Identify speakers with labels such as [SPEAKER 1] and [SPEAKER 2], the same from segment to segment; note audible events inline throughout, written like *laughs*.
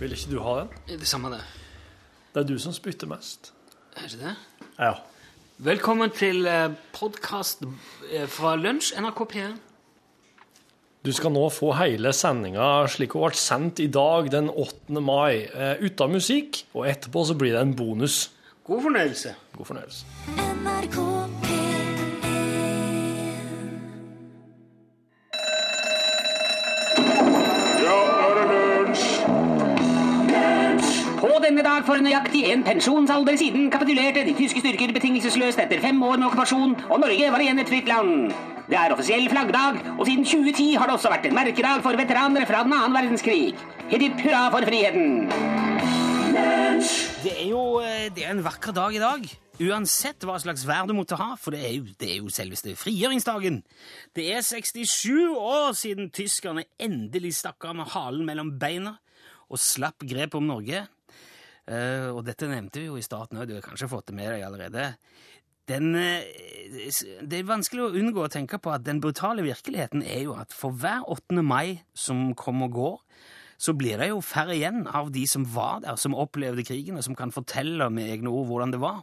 [SPEAKER 1] Vil ikke du ha den?
[SPEAKER 2] Det samme, det.
[SPEAKER 1] Det er du som spytter mest.
[SPEAKER 2] Er ikke det?
[SPEAKER 1] Ja.
[SPEAKER 2] Velkommen til eh, podkast eh, fra Lunsj, NRK P1.
[SPEAKER 1] Du skal nå få hele sendinga slik hun ble sendt i dag, den 8. mai, eh, uten musikk. Og etterpå så blir det en bonus.
[SPEAKER 2] God fornøyelse.
[SPEAKER 1] God fornøyelse.
[SPEAKER 3] NRK P1
[SPEAKER 4] Ja, nå er det lunsj!
[SPEAKER 5] På denne dag for nøyaktig en pensjonsalder siden kapitulerte de tyske styrker betingelsesløst etter fem år med okkupasjon, og Norge var igjen et fritt land. Det er offisiell flaggdag, og siden 2010 har det også vært en merkedag for veteraner fra den annen verdenskrig. Hipp hipp hurra for friheten!
[SPEAKER 6] Det er jo eh, det er en vakker dag i dag, uansett hva slags vær du måtte ha, for det er jo, det er jo selveste frigjøringsdagen. Det er 67 år siden tyskerne endelig stakk av med halen mellom beina og slapp grep om Norge. Eh, og dette nevnte vi jo i starten òg, du har kanskje fått det med deg allerede. Den, eh, s- det er vanskelig å unngå å tenke på at den brutale virkeligheten er jo at for hver 8. mai som kommer og går, så blir det jo færre igjen av de som var der, som opplevde krigen, og som kan fortelle med egne ord hvordan det var.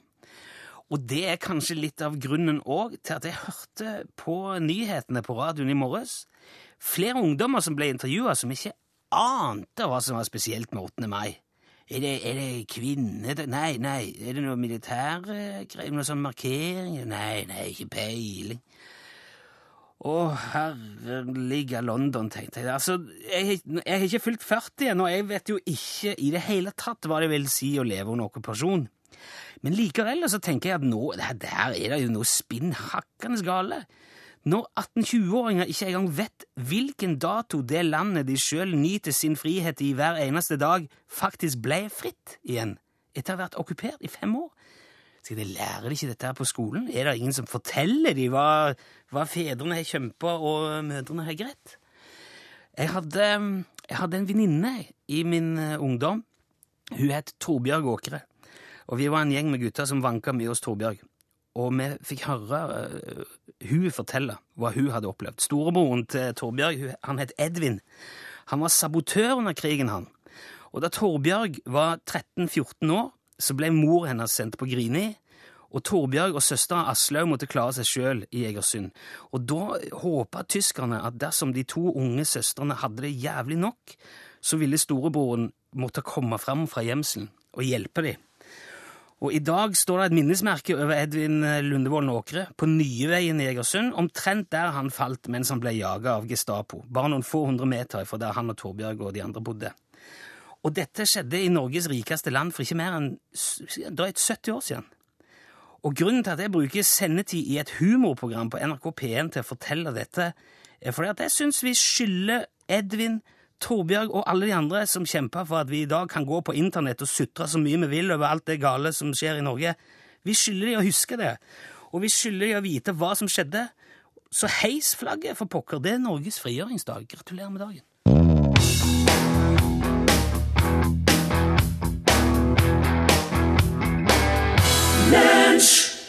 [SPEAKER 6] Og det er kanskje litt av grunnen òg til at jeg hørte på nyhetene på radioen i morges flere ungdommer som ble intervjua, som ikke ante hva som var spesielt med 8. mai. Er det, er det kvinner Nei, nei. Er det noe militærgreier? Noe sånn markering? Nei, nei, ikke peiling. Å, herlige London, tenkte jeg. Altså, jeg, jeg har ikke fylt 40 ennå, og jeg vet jo ikke i det hele tatt hva det vil si å leve under okkupasjon. Men likevel så tenker jeg at nå, det her- der er det jo noe spinnhakkende gale. Når 18-20-åringer ikke engang vet hvilken dato det landet de sjøl nyter sin frihet i hver eneste dag, faktisk ble fritt igjen etter å ha vært okkupert i fem år. Skal de lære de ikke dette her på skolen? Er det ingen som forteller de hva, hva fedrene har kjempa og mødrene har grett? Jeg hadde, jeg hadde en venninne i min eh, ungdom. Hun het Torbjørg Åkre. Og vi var en gjeng med gutter som vanka mye hos Torbjørg. Og vi fikk høre eh, hun fortelle hva hun hadde opplevd. Storebroren til Torbjørg, hun- han het Edvin. Han var sabotør under krigen, han. Og da Torbjørg var 13-14 år, så ble mor hennes sendt på Grini. Og Torbjørg og søstera Aslaug måtte klare seg sjøl i Egersund. Og da håpa tyskerne at dersom de to unge søstrene hadde det jævlig nok, så ville storebroren måtte komme fram fra gjemselen og hjelpe dem. Og i dag står det et minnesmerke over Edvin Lundevolden Åkre på Nyveien i Egersund, omtrent der han falt mens han ble jaga av Gestapo, bare noen få hundre meter fra der han og Torbjørg og de andre bodde. Og dette skjedde i Norges rikeste land for ikke mer enn s- drøyt 70 år siden. Og grunnen til at jeg bruker sendetid i et humorprogram på NRK P1 til å fortelle dette, er fordi at jeg syns vi skylder Edvin, Torbjørg og alle de andre som kjemper for at vi i dag kan gå på internett og sutre så mye vi vil over alt det gale som skjer i Norge, vi skylder de å huske det. Og vi skylder de å vite hva som skjedde. Så heis flagget, for pokker. Det er Norges frigjøringsdag. Gratulerer med dagen.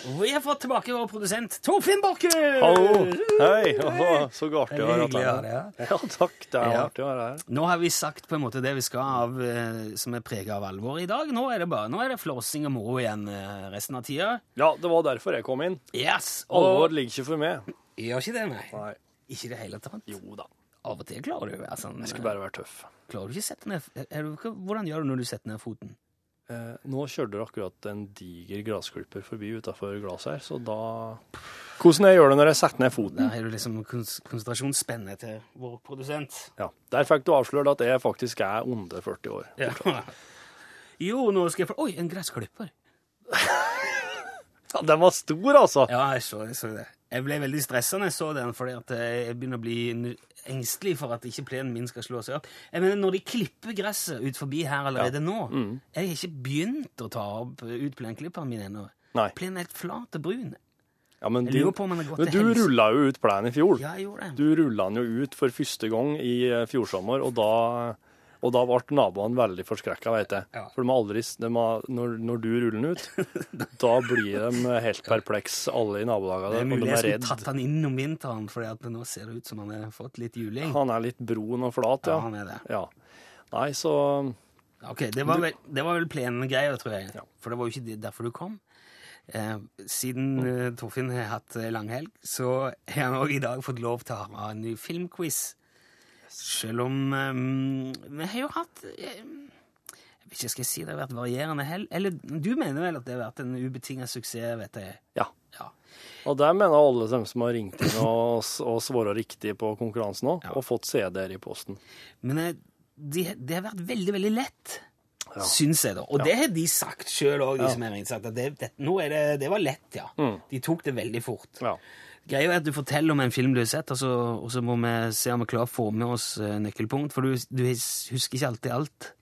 [SPEAKER 6] Og vi har fått tilbake vår produsent Torfinn Borchhus!
[SPEAKER 1] Hei! *laughs* så artig å
[SPEAKER 6] Hyggelig å ha deg her.
[SPEAKER 1] *laughs* Ja, takk. Det er
[SPEAKER 6] Ja.
[SPEAKER 1] artig å være her.
[SPEAKER 6] Nå har vi sagt på en måte det vi skal av, eh, som er prega av alvor i dag. Nå er det bare, nå er det flåsing og moro igjen eh, resten av tida.
[SPEAKER 1] Ja, det var derfor jeg kom inn.
[SPEAKER 6] Yes!
[SPEAKER 1] Alvor
[SPEAKER 6] Og
[SPEAKER 1] ligger ikke for meg.
[SPEAKER 6] gjør ikke det, nei.
[SPEAKER 1] Nei.
[SPEAKER 6] Ikke i det hele tatt.
[SPEAKER 1] Jo da.
[SPEAKER 6] Av og til klarer du å være sånn.
[SPEAKER 1] Jeg skal bare være tøff.
[SPEAKER 6] Klarer du ikke å sette ned er du, ikke- Hvordan gjør du når du setter ned foten?
[SPEAKER 1] Eh, nå kjørte dere akkurat en diger gressklipper forbi utafor glasset her, så da Hvordan jeg gjør det når jeg setter ned foten?
[SPEAKER 6] Der har du liksom kons konsentrasjonsspennet til vår produsent.
[SPEAKER 1] Ja. Der fikk du avslørt at jeg faktisk er under 40 år.
[SPEAKER 6] Ja. *laughs* Jo, nå skal jeg få Oi, en gressklipper!
[SPEAKER 1] Ja, den var stor, altså!
[SPEAKER 6] Ja, jeg så, jeg så det. Jeg ble veldig stressa når jeg så den, fordi at eh, jeg begynner å bli nu- engstelig for at ikke plenen min skal slå seg opp. Jeg mener, Når de klipper gresset ut forbi her allerede nå
[SPEAKER 1] Mm.
[SPEAKER 6] Jeg har ikke begynt å ta opp, eh, ut plenklipperen min ennå.
[SPEAKER 1] Nei.
[SPEAKER 6] Plenen er helt flat og brun.
[SPEAKER 1] Ja, men
[SPEAKER 6] Jeg
[SPEAKER 1] din-
[SPEAKER 6] lurer på om den har gått
[SPEAKER 1] men
[SPEAKER 6] til
[SPEAKER 1] du
[SPEAKER 6] helse.
[SPEAKER 1] rulla jo ut plenen i fjor.
[SPEAKER 6] Ja, jeg gjorde det.
[SPEAKER 1] Du rulla den jo ut for første gang i eh, fjor sommer, og da, og da ble naboene veldig forskrekka, vet jeg.
[SPEAKER 6] Ja.
[SPEAKER 1] For de har aldri, s- de har, når, når du ruller den ut,
[SPEAKER 6] *laughs*
[SPEAKER 1] da blir de helt perpleks, alle i
[SPEAKER 6] Det
[SPEAKER 1] nabolagene.
[SPEAKER 6] er
[SPEAKER 1] og
[SPEAKER 6] mulig
[SPEAKER 1] de
[SPEAKER 6] jeg
[SPEAKER 1] er
[SPEAKER 6] skulle
[SPEAKER 1] redd.
[SPEAKER 6] tatt den inn om vinteren, fordi at nå ser det ut som han har fått litt juling.
[SPEAKER 1] Han er litt brun og flat, ja.
[SPEAKER 6] Ja, han er det.
[SPEAKER 1] Ja. Nei, så
[SPEAKER 6] Ok, Det var vel, det var vel plengreia, tror jeg. For det var jo ikke de- derfor du kom. Eh, siden eh, Torfinn har hatt eh, langhelg, så har han òg i dag fått lov til å ha en ny filmquiz. Selv om eh, Vi har jo hatt eh, Jeg vet ikke skal jeg si det har vært varierende hell. Eller du mener vel at det har vært en ubetinga suksess, vet jeg.
[SPEAKER 1] Ja.
[SPEAKER 6] Ja.
[SPEAKER 1] Og det mener alle dem som har ringt inn og, og svara riktig på konkurransen òg, og fått CD-er i posten.
[SPEAKER 6] Men eh, det de har vært veldig, veldig lett, syns jeg, da. Og det har de sagt sjøl òg, de som har innsatt. at Det, det, nå er det, det var lett, ja. De tok det veldig fort.
[SPEAKER 1] Ja.
[SPEAKER 6] Greia er at du forteller om en film du har sett, og så, og så må vi se om vi klarer å få med oss eh, nøkkelpunkt, for du, du hus- husker ikke alltid alt.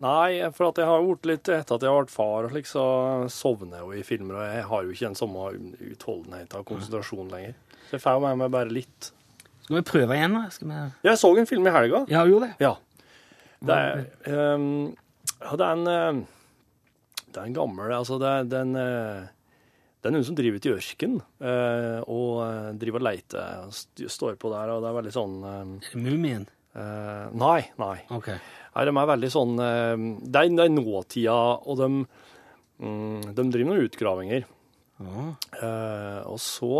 [SPEAKER 1] Nei, for at jeg har vært litt etter at jeg har vært far, og slik, så sovner jeg jo i filmer, og jeg har jo ikke den samme utholdenheten og konsentrasjonen lenger. Så jeg får jo med meg bare litt.
[SPEAKER 6] Skal vi prøve igjen, da? Skal vi...
[SPEAKER 1] Jeg så en film i helga.
[SPEAKER 6] Ja, gjør det.
[SPEAKER 1] Ja. Det er, ehm, ja, det er en ehm, Det er en gammel Altså, det er, det er en eh, det er noen som driver ute i ørken eh, og eh, driver og leter og st- står på der, og det er veldig sånn ehm,
[SPEAKER 6] Mumien.
[SPEAKER 1] eh, Nei, nei.
[SPEAKER 6] Ok.
[SPEAKER 1] Nei, de er veldig sånn eh, Det er, det er nåtida, og de, mm, de driver noen utgravinger.
[SPEAKER 6] Ja.
[SPEAKER 1] Eh, og så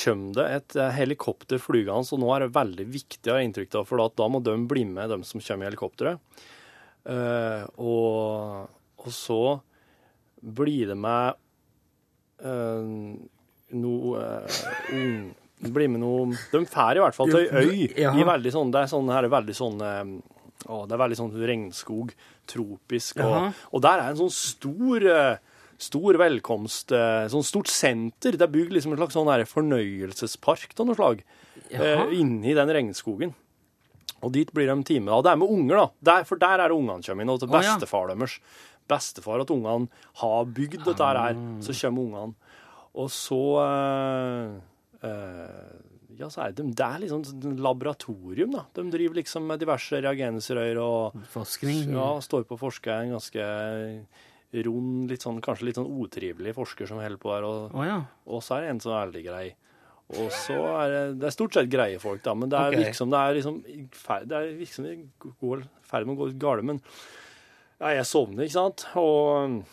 [SPEAKER 1] kommer det et eh, helikopter flygende, og nå er det veldig viktig, har jeg inntrykk av, for at da må de bli med, de som kommer i helikopteret. Eh, og, og så blir det med uh, noe eh, ung blir med noe De drar i hvert fall til ei øy.
[SPEAKER 6] Ja.
[SPEAKER 1] I veldig sånn, det er sånn, her er veldig sånn eh, å, Det er veldig sånn regnskog, tropisk. Og,
[SPEAKER 6] Jaha.
[SPEAKER 1] og der er en sånn stor eh, Stor velkomst, eh, sånn stort senter. Det er bygd liksom en slags sånn her fornøyelsespark av noe slag.
[SPEAKER 6] Jaha.
[SPEAKER 1] eh, Inni den regnskogen. Og dit blir de en time. Og det er med unger, da. Der, for der er det ungene kommer inn. Og til
[SPEAKER 6] Å, ja.
[SPEAKER 1] bestefar deres. Bestefar at ungene har bygd dette her. Så kommer ungene. Og så eh, eh, Ja, så er de, det er liksom et laboratorium, da. De driver liksom med diverse reagensrør og
[SPEAKER 6] Forskning.
[SPEAKER 1] Ja, står på å forske. En ganske rund, litt sånn, kanskje litt sånn utrivelig forsker som holder på her. Og,
[SPEAKER 6] Å ja.
[SPEAKER 1] og så er det en som er veldig grei. Og så er det, det er stort sett greie folk, da, men det er
[SPEAKER 6] Ok.
[SPEAKER 1] liksom det er liksom, i fer- det er liksom i går- ferd med å gå litt gale, men ja, jeg sovner, ikke sant? Og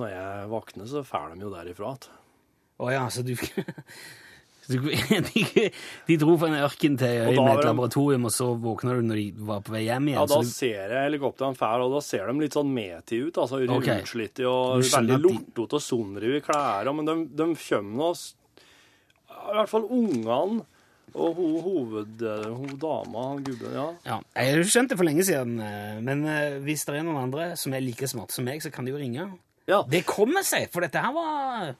[SPEAKER 1] når jeg våkner, så fær de jo derifra. at-
[SPEAKER 6] Å ja, så du *laughs* så du- de, de dro fra en ørken til ei øy
[SPEAKER 1] Og da
[SPEAKER 6] med
[SPEAKER 1] var
[SPEAKER 6] et
[SPEAKER 1] de-
[SPEAKER 6] laboratorium, og så våkna du når de var på vei hjem igjen.
[SPEAKER 1] Ja, da
[SPEAKER 6] så du-
[SPEAKER 1] ser jeg helikopteren fær, og da ser de litt sånn meti ut, altså
[SPEAKER 6] Ok.
[SPEAKER 1] utslitte og
[SPEAKER 6] Du
[SPEAKER 1] veldig
[SPEAKER 6] skjønner at de-
[SPEAKER 1] lortete og sondre i klær, men de, de kommer nå, s- ja, i hvert fall ungene, og ho, hoved, ho, dama, han gubben, ja.
[SPEAKER 6] Ja, jeg har jo skjønt det for lenge siden, eh, men eh, hvis det er noen andre som er like smarte som meg, så kan de jo ringe.
[SPEAKER 1] Ja,
[SPEAKER 6] Det kommer seg, for dette her var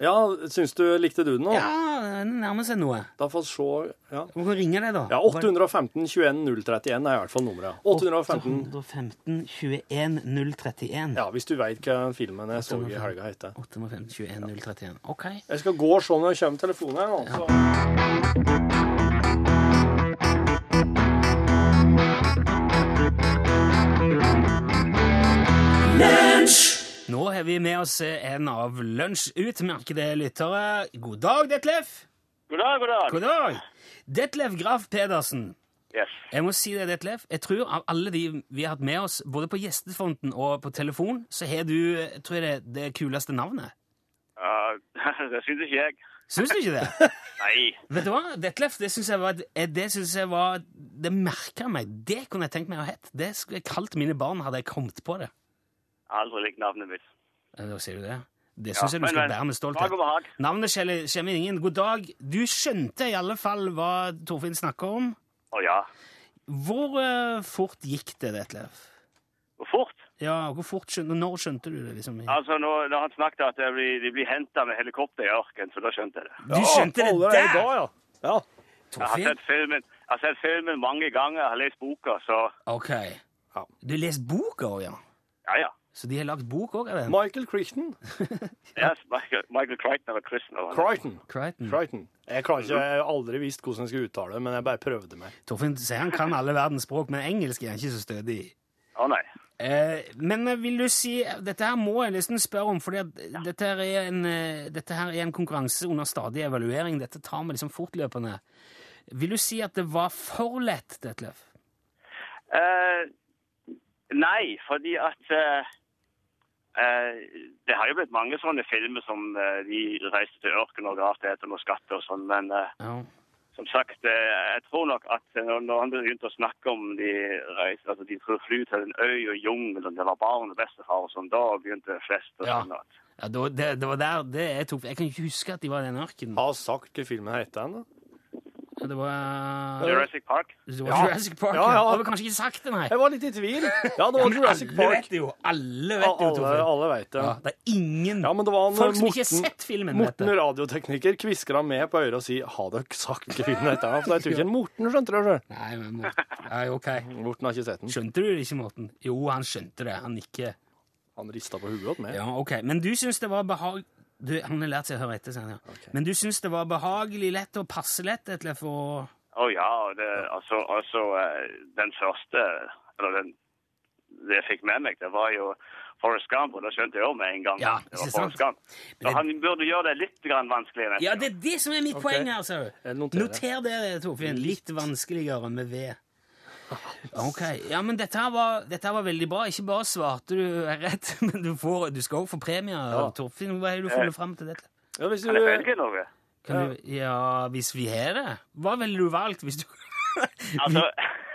[SPEAKER 1] ja syns du likte du den nå?
[SPEAKER 6] Ja, det nærmer seg noe.
[SPEAKER 1] Da får vi se. Ja.
[SPEAKER 6] Du kan ringe deg, da.
[SPEAKER 1] ja, 815 21 031 er i hvert fall nummeret. 815.
[SPEAKER 6] 815 21 031.
[SPEAKER 1] Ja, hvis du veit hva filmen jeg så i helga heter.
[SPEAKER 6] 815 21 031. Ok.
[SPEAKER 1] Jeg skal gå og se når det kommer telefonen her. nå, så-
[SPEAKER 6] Nå har vi med oss eh, en av lunsjutmerkede lyttere. God dag, Detlef.
[SPEAKER 7] God dag, god dag.
[SPEAKER 6] God dag. Detlef Graf Pedersen.
[SPEAKER 7] Yes.
[SPEAKER 6] Jeg må si det, Detlef. Jeg tror av alle de vi har hatt med oss, både på gjestefronten og på telefon, så har du jeg tror jeg, det, det kuleste navnet.
[SPEAKER 7] Uh, *laughs* det synes ikke jeg.
[SPEAKER 6] Syns du ikke det?
[SPEAKER 7] *laughs* Nei.
[SPEAKER 6] Vet du hva, Detlef, det syns jeg var eh, Det synes jeg var, det merka meg. Det kunne jeg tenkt meg å hete. Det skulle jeg kalt mine barn, hadde jeg kommet på det.
[SPEAKER 7] Jeg har aldri likt navnet mitt.
[SPEAKER 6] Ja, Da sier du det. Det syns
[SPEAKER 7] Ja,
[SPEAKER 6] jeg du
[SPEAKER 7] men,
[SPEAKER 6] skal
[SPEAKER 7] men,
[SPEAKER 6] bære med
[SPEAKER 7] Dag
[SPEAKER 6] stolthet.
[SPEAKER 7] og behag.
[SPEAKER 6] Navnet skjelle- skjemmer ingen. God dag. Du skjønte i alle fall hva Torfinn snakker om.
[SPEAKER 7] Å ja.
[SPEAKER 6] Hvor eh, fort gikk det, Detlef?
[SPEAKER 7] Og fort.
[SPEAKER 6] Ja, hvor fort skjønte, Når skjønte du det? liksom?
[SPEAKER 7] Altså, nå, når han snakket at jeg blir, de blir hentet med helikopter i ørken, så da skjønte jeg det.
[SPEAKER 6] Du skjønte det
[SPEAKER 1] allerede
[SPEAKER 6] der!
[SPEAKER 1] Da, ja. ja.
[SPEAKER 7] Jeg har sett filmen, jeg har sett filmen mange ganger, jeg har lest boka, så
[SPEAKER 6] Ok. Du har lest boka òg, ja?
[SPEAKER 7] ja, ja.
[SPEAKER 6] Så de har lagd bok òg av den?
[SPEAKER 1] Michael Crichton.
[SPEAKER 7] Yes, Michael, Michael Crichton eller Christen. eller noe.
[SPEAKER 1] Crichton.
[SPEAKER 6] Crichton.
[SPEAKER 1] Crichton. Jeg, klarer
[SPEAKER 8] Mm.
[SPEAKER 1] ikke, jeg har aldri visst hvordan jeg skulle uttale det, men jeg bare prøvde meg.
[SPEAKER 6] Torfinn sier han kan alle verdens språk, men engelsk er han ikke så stødig i.
[SPEAKER 7] Å nei.
[SPEAKER 6] Eh, men eh, vil du si Dette her må jeg nesten spørre om, for dette, her er en, eh, dette her er en konkurranse under stadig evaluering. Dette tar vi liksom fortløpende. Vil du si at det var for lett, Detlef?
[SPEAKER 7] Eh, Nei, fordi at eh, eh, Det har jo blitt mange sånne filmer som eh, de reiste til ørkenen og gravde etter noen skatter og sånn, men eh,
[SPEAKER 6] Ja.
[SPEAKER 7] som sagt, eh, jeg tror nok at eh, når, når han begynte å snakke om de reiser, altså de skulle fly til en øy og jungel, og det var barn og bestefar og sånn, da begynte flest å
[SPEAKER 6] Ja.
[SPEAKER 7] skjønne at
[SPEAKER 6] Ja, det, var- det, det var der det jeg tok Jeg kan ikke huske at de var i den ørkenen.
[SPEAKER 8] Har sagt hva filmen heter ennå.
[SPEAKER 6] Ja, Det var,
[SPEAKER 7] Jurassic Park
[SPEAKER 6] det var
[SPEAKER 8] Ja.
[SPEAKER 6] Jurassic Park.
[SPEAKER 8] Ja, ja.
[SPEAKER 6] Jeg har kanskje ikke sagt det, nei.
[SPEAKER 8] Jeg var litt i tvil. Ja, det
[SPEAKER 6] *laughs*
[SPEAKER 8] var Jurassic
[SPEAKER 6] Alle
[SPEAKER 8] Park.
[SPEAKER 6] vet det jo.
[SPEAKER 8] Ja,
[SPEAKER 6] Alle vet det jo,
[SPEAKER 8] alle,
[SPEAKER 6] Torfinn.
[SPEAKER 8] alle vet det.
[SPEAKER 6] Ja, det er ingen
[SPEAKER 8] Ja, men det var han, eh,
[SPEAKER 6] folk som ikke har
[SPEAKER 8] Morten-
[SPEAKER 6] sett filmen, vet
[SPEAKER 8] Morten
[SPEAKER 6] det.
[SPEAKER 8] radiotekniker kvisker han med på øret og sier 'Har dere sagt hva filmen heter?' For jeg tror ikke en Morten skjønte det sjøl.
[SPEAKER 6] Nei, men Morten. Ja, ok.
[SPEAKER 8] Morten har ikke sett den.
[SPEAKER 6] Skjønte du det ikke, Morten? Jo, han skjønte det. Han nikker.
[SPEAKER 8] Han rista på huet åt meg.
[SPEAKER 6] Ja, ok. Men du syns det var behag... Du, han har lært seg å høre etter, sier han, ja. Men du syns det var behagelig lett og passe lett, Etlef, og
[SPEAKER 7] Å ja, og det, altså, altså eh, den første Eller den det jeg fikk med meg, det var jo Forrest Gump, og det skjønte jeg jo med en gang.
[SPEAKER 6] Ja, ikke
[SPEAKER 7] det var
[SPEAKER 6] sant?
[SPEAKER 7] Forrest Gump.
[SPEAKER 6] Men
[SPEAKER 7] Så
[SPEAKER 6] det-
[SPEAKER 7] han burde gjøre det litt grann vanskeligere.
[SPEAKER 6] Ja, det er det som er mitt poeng her, ser du.
[SPEAKER 8] Jeg noterer.
[SPEAKER 6] Noter det, Torfinn. Litt vanskeligere med V. Ok, ja, men dette her, var, dette her var veldig bra. Ikke bare svarte du rett, *laughs* men du, får, du skal også få premie. Torfinn, hva er det du føler fram til dette?
[SPEAKER 8] Ja, hvis du,
[SPEAKER 7] Kan jeg velge noe?
[SPEAKER 6] Kan du, ja, hvis vi har det? Hva ville du valgt hvis du *laughs*
[SPEAKER 7] Altså,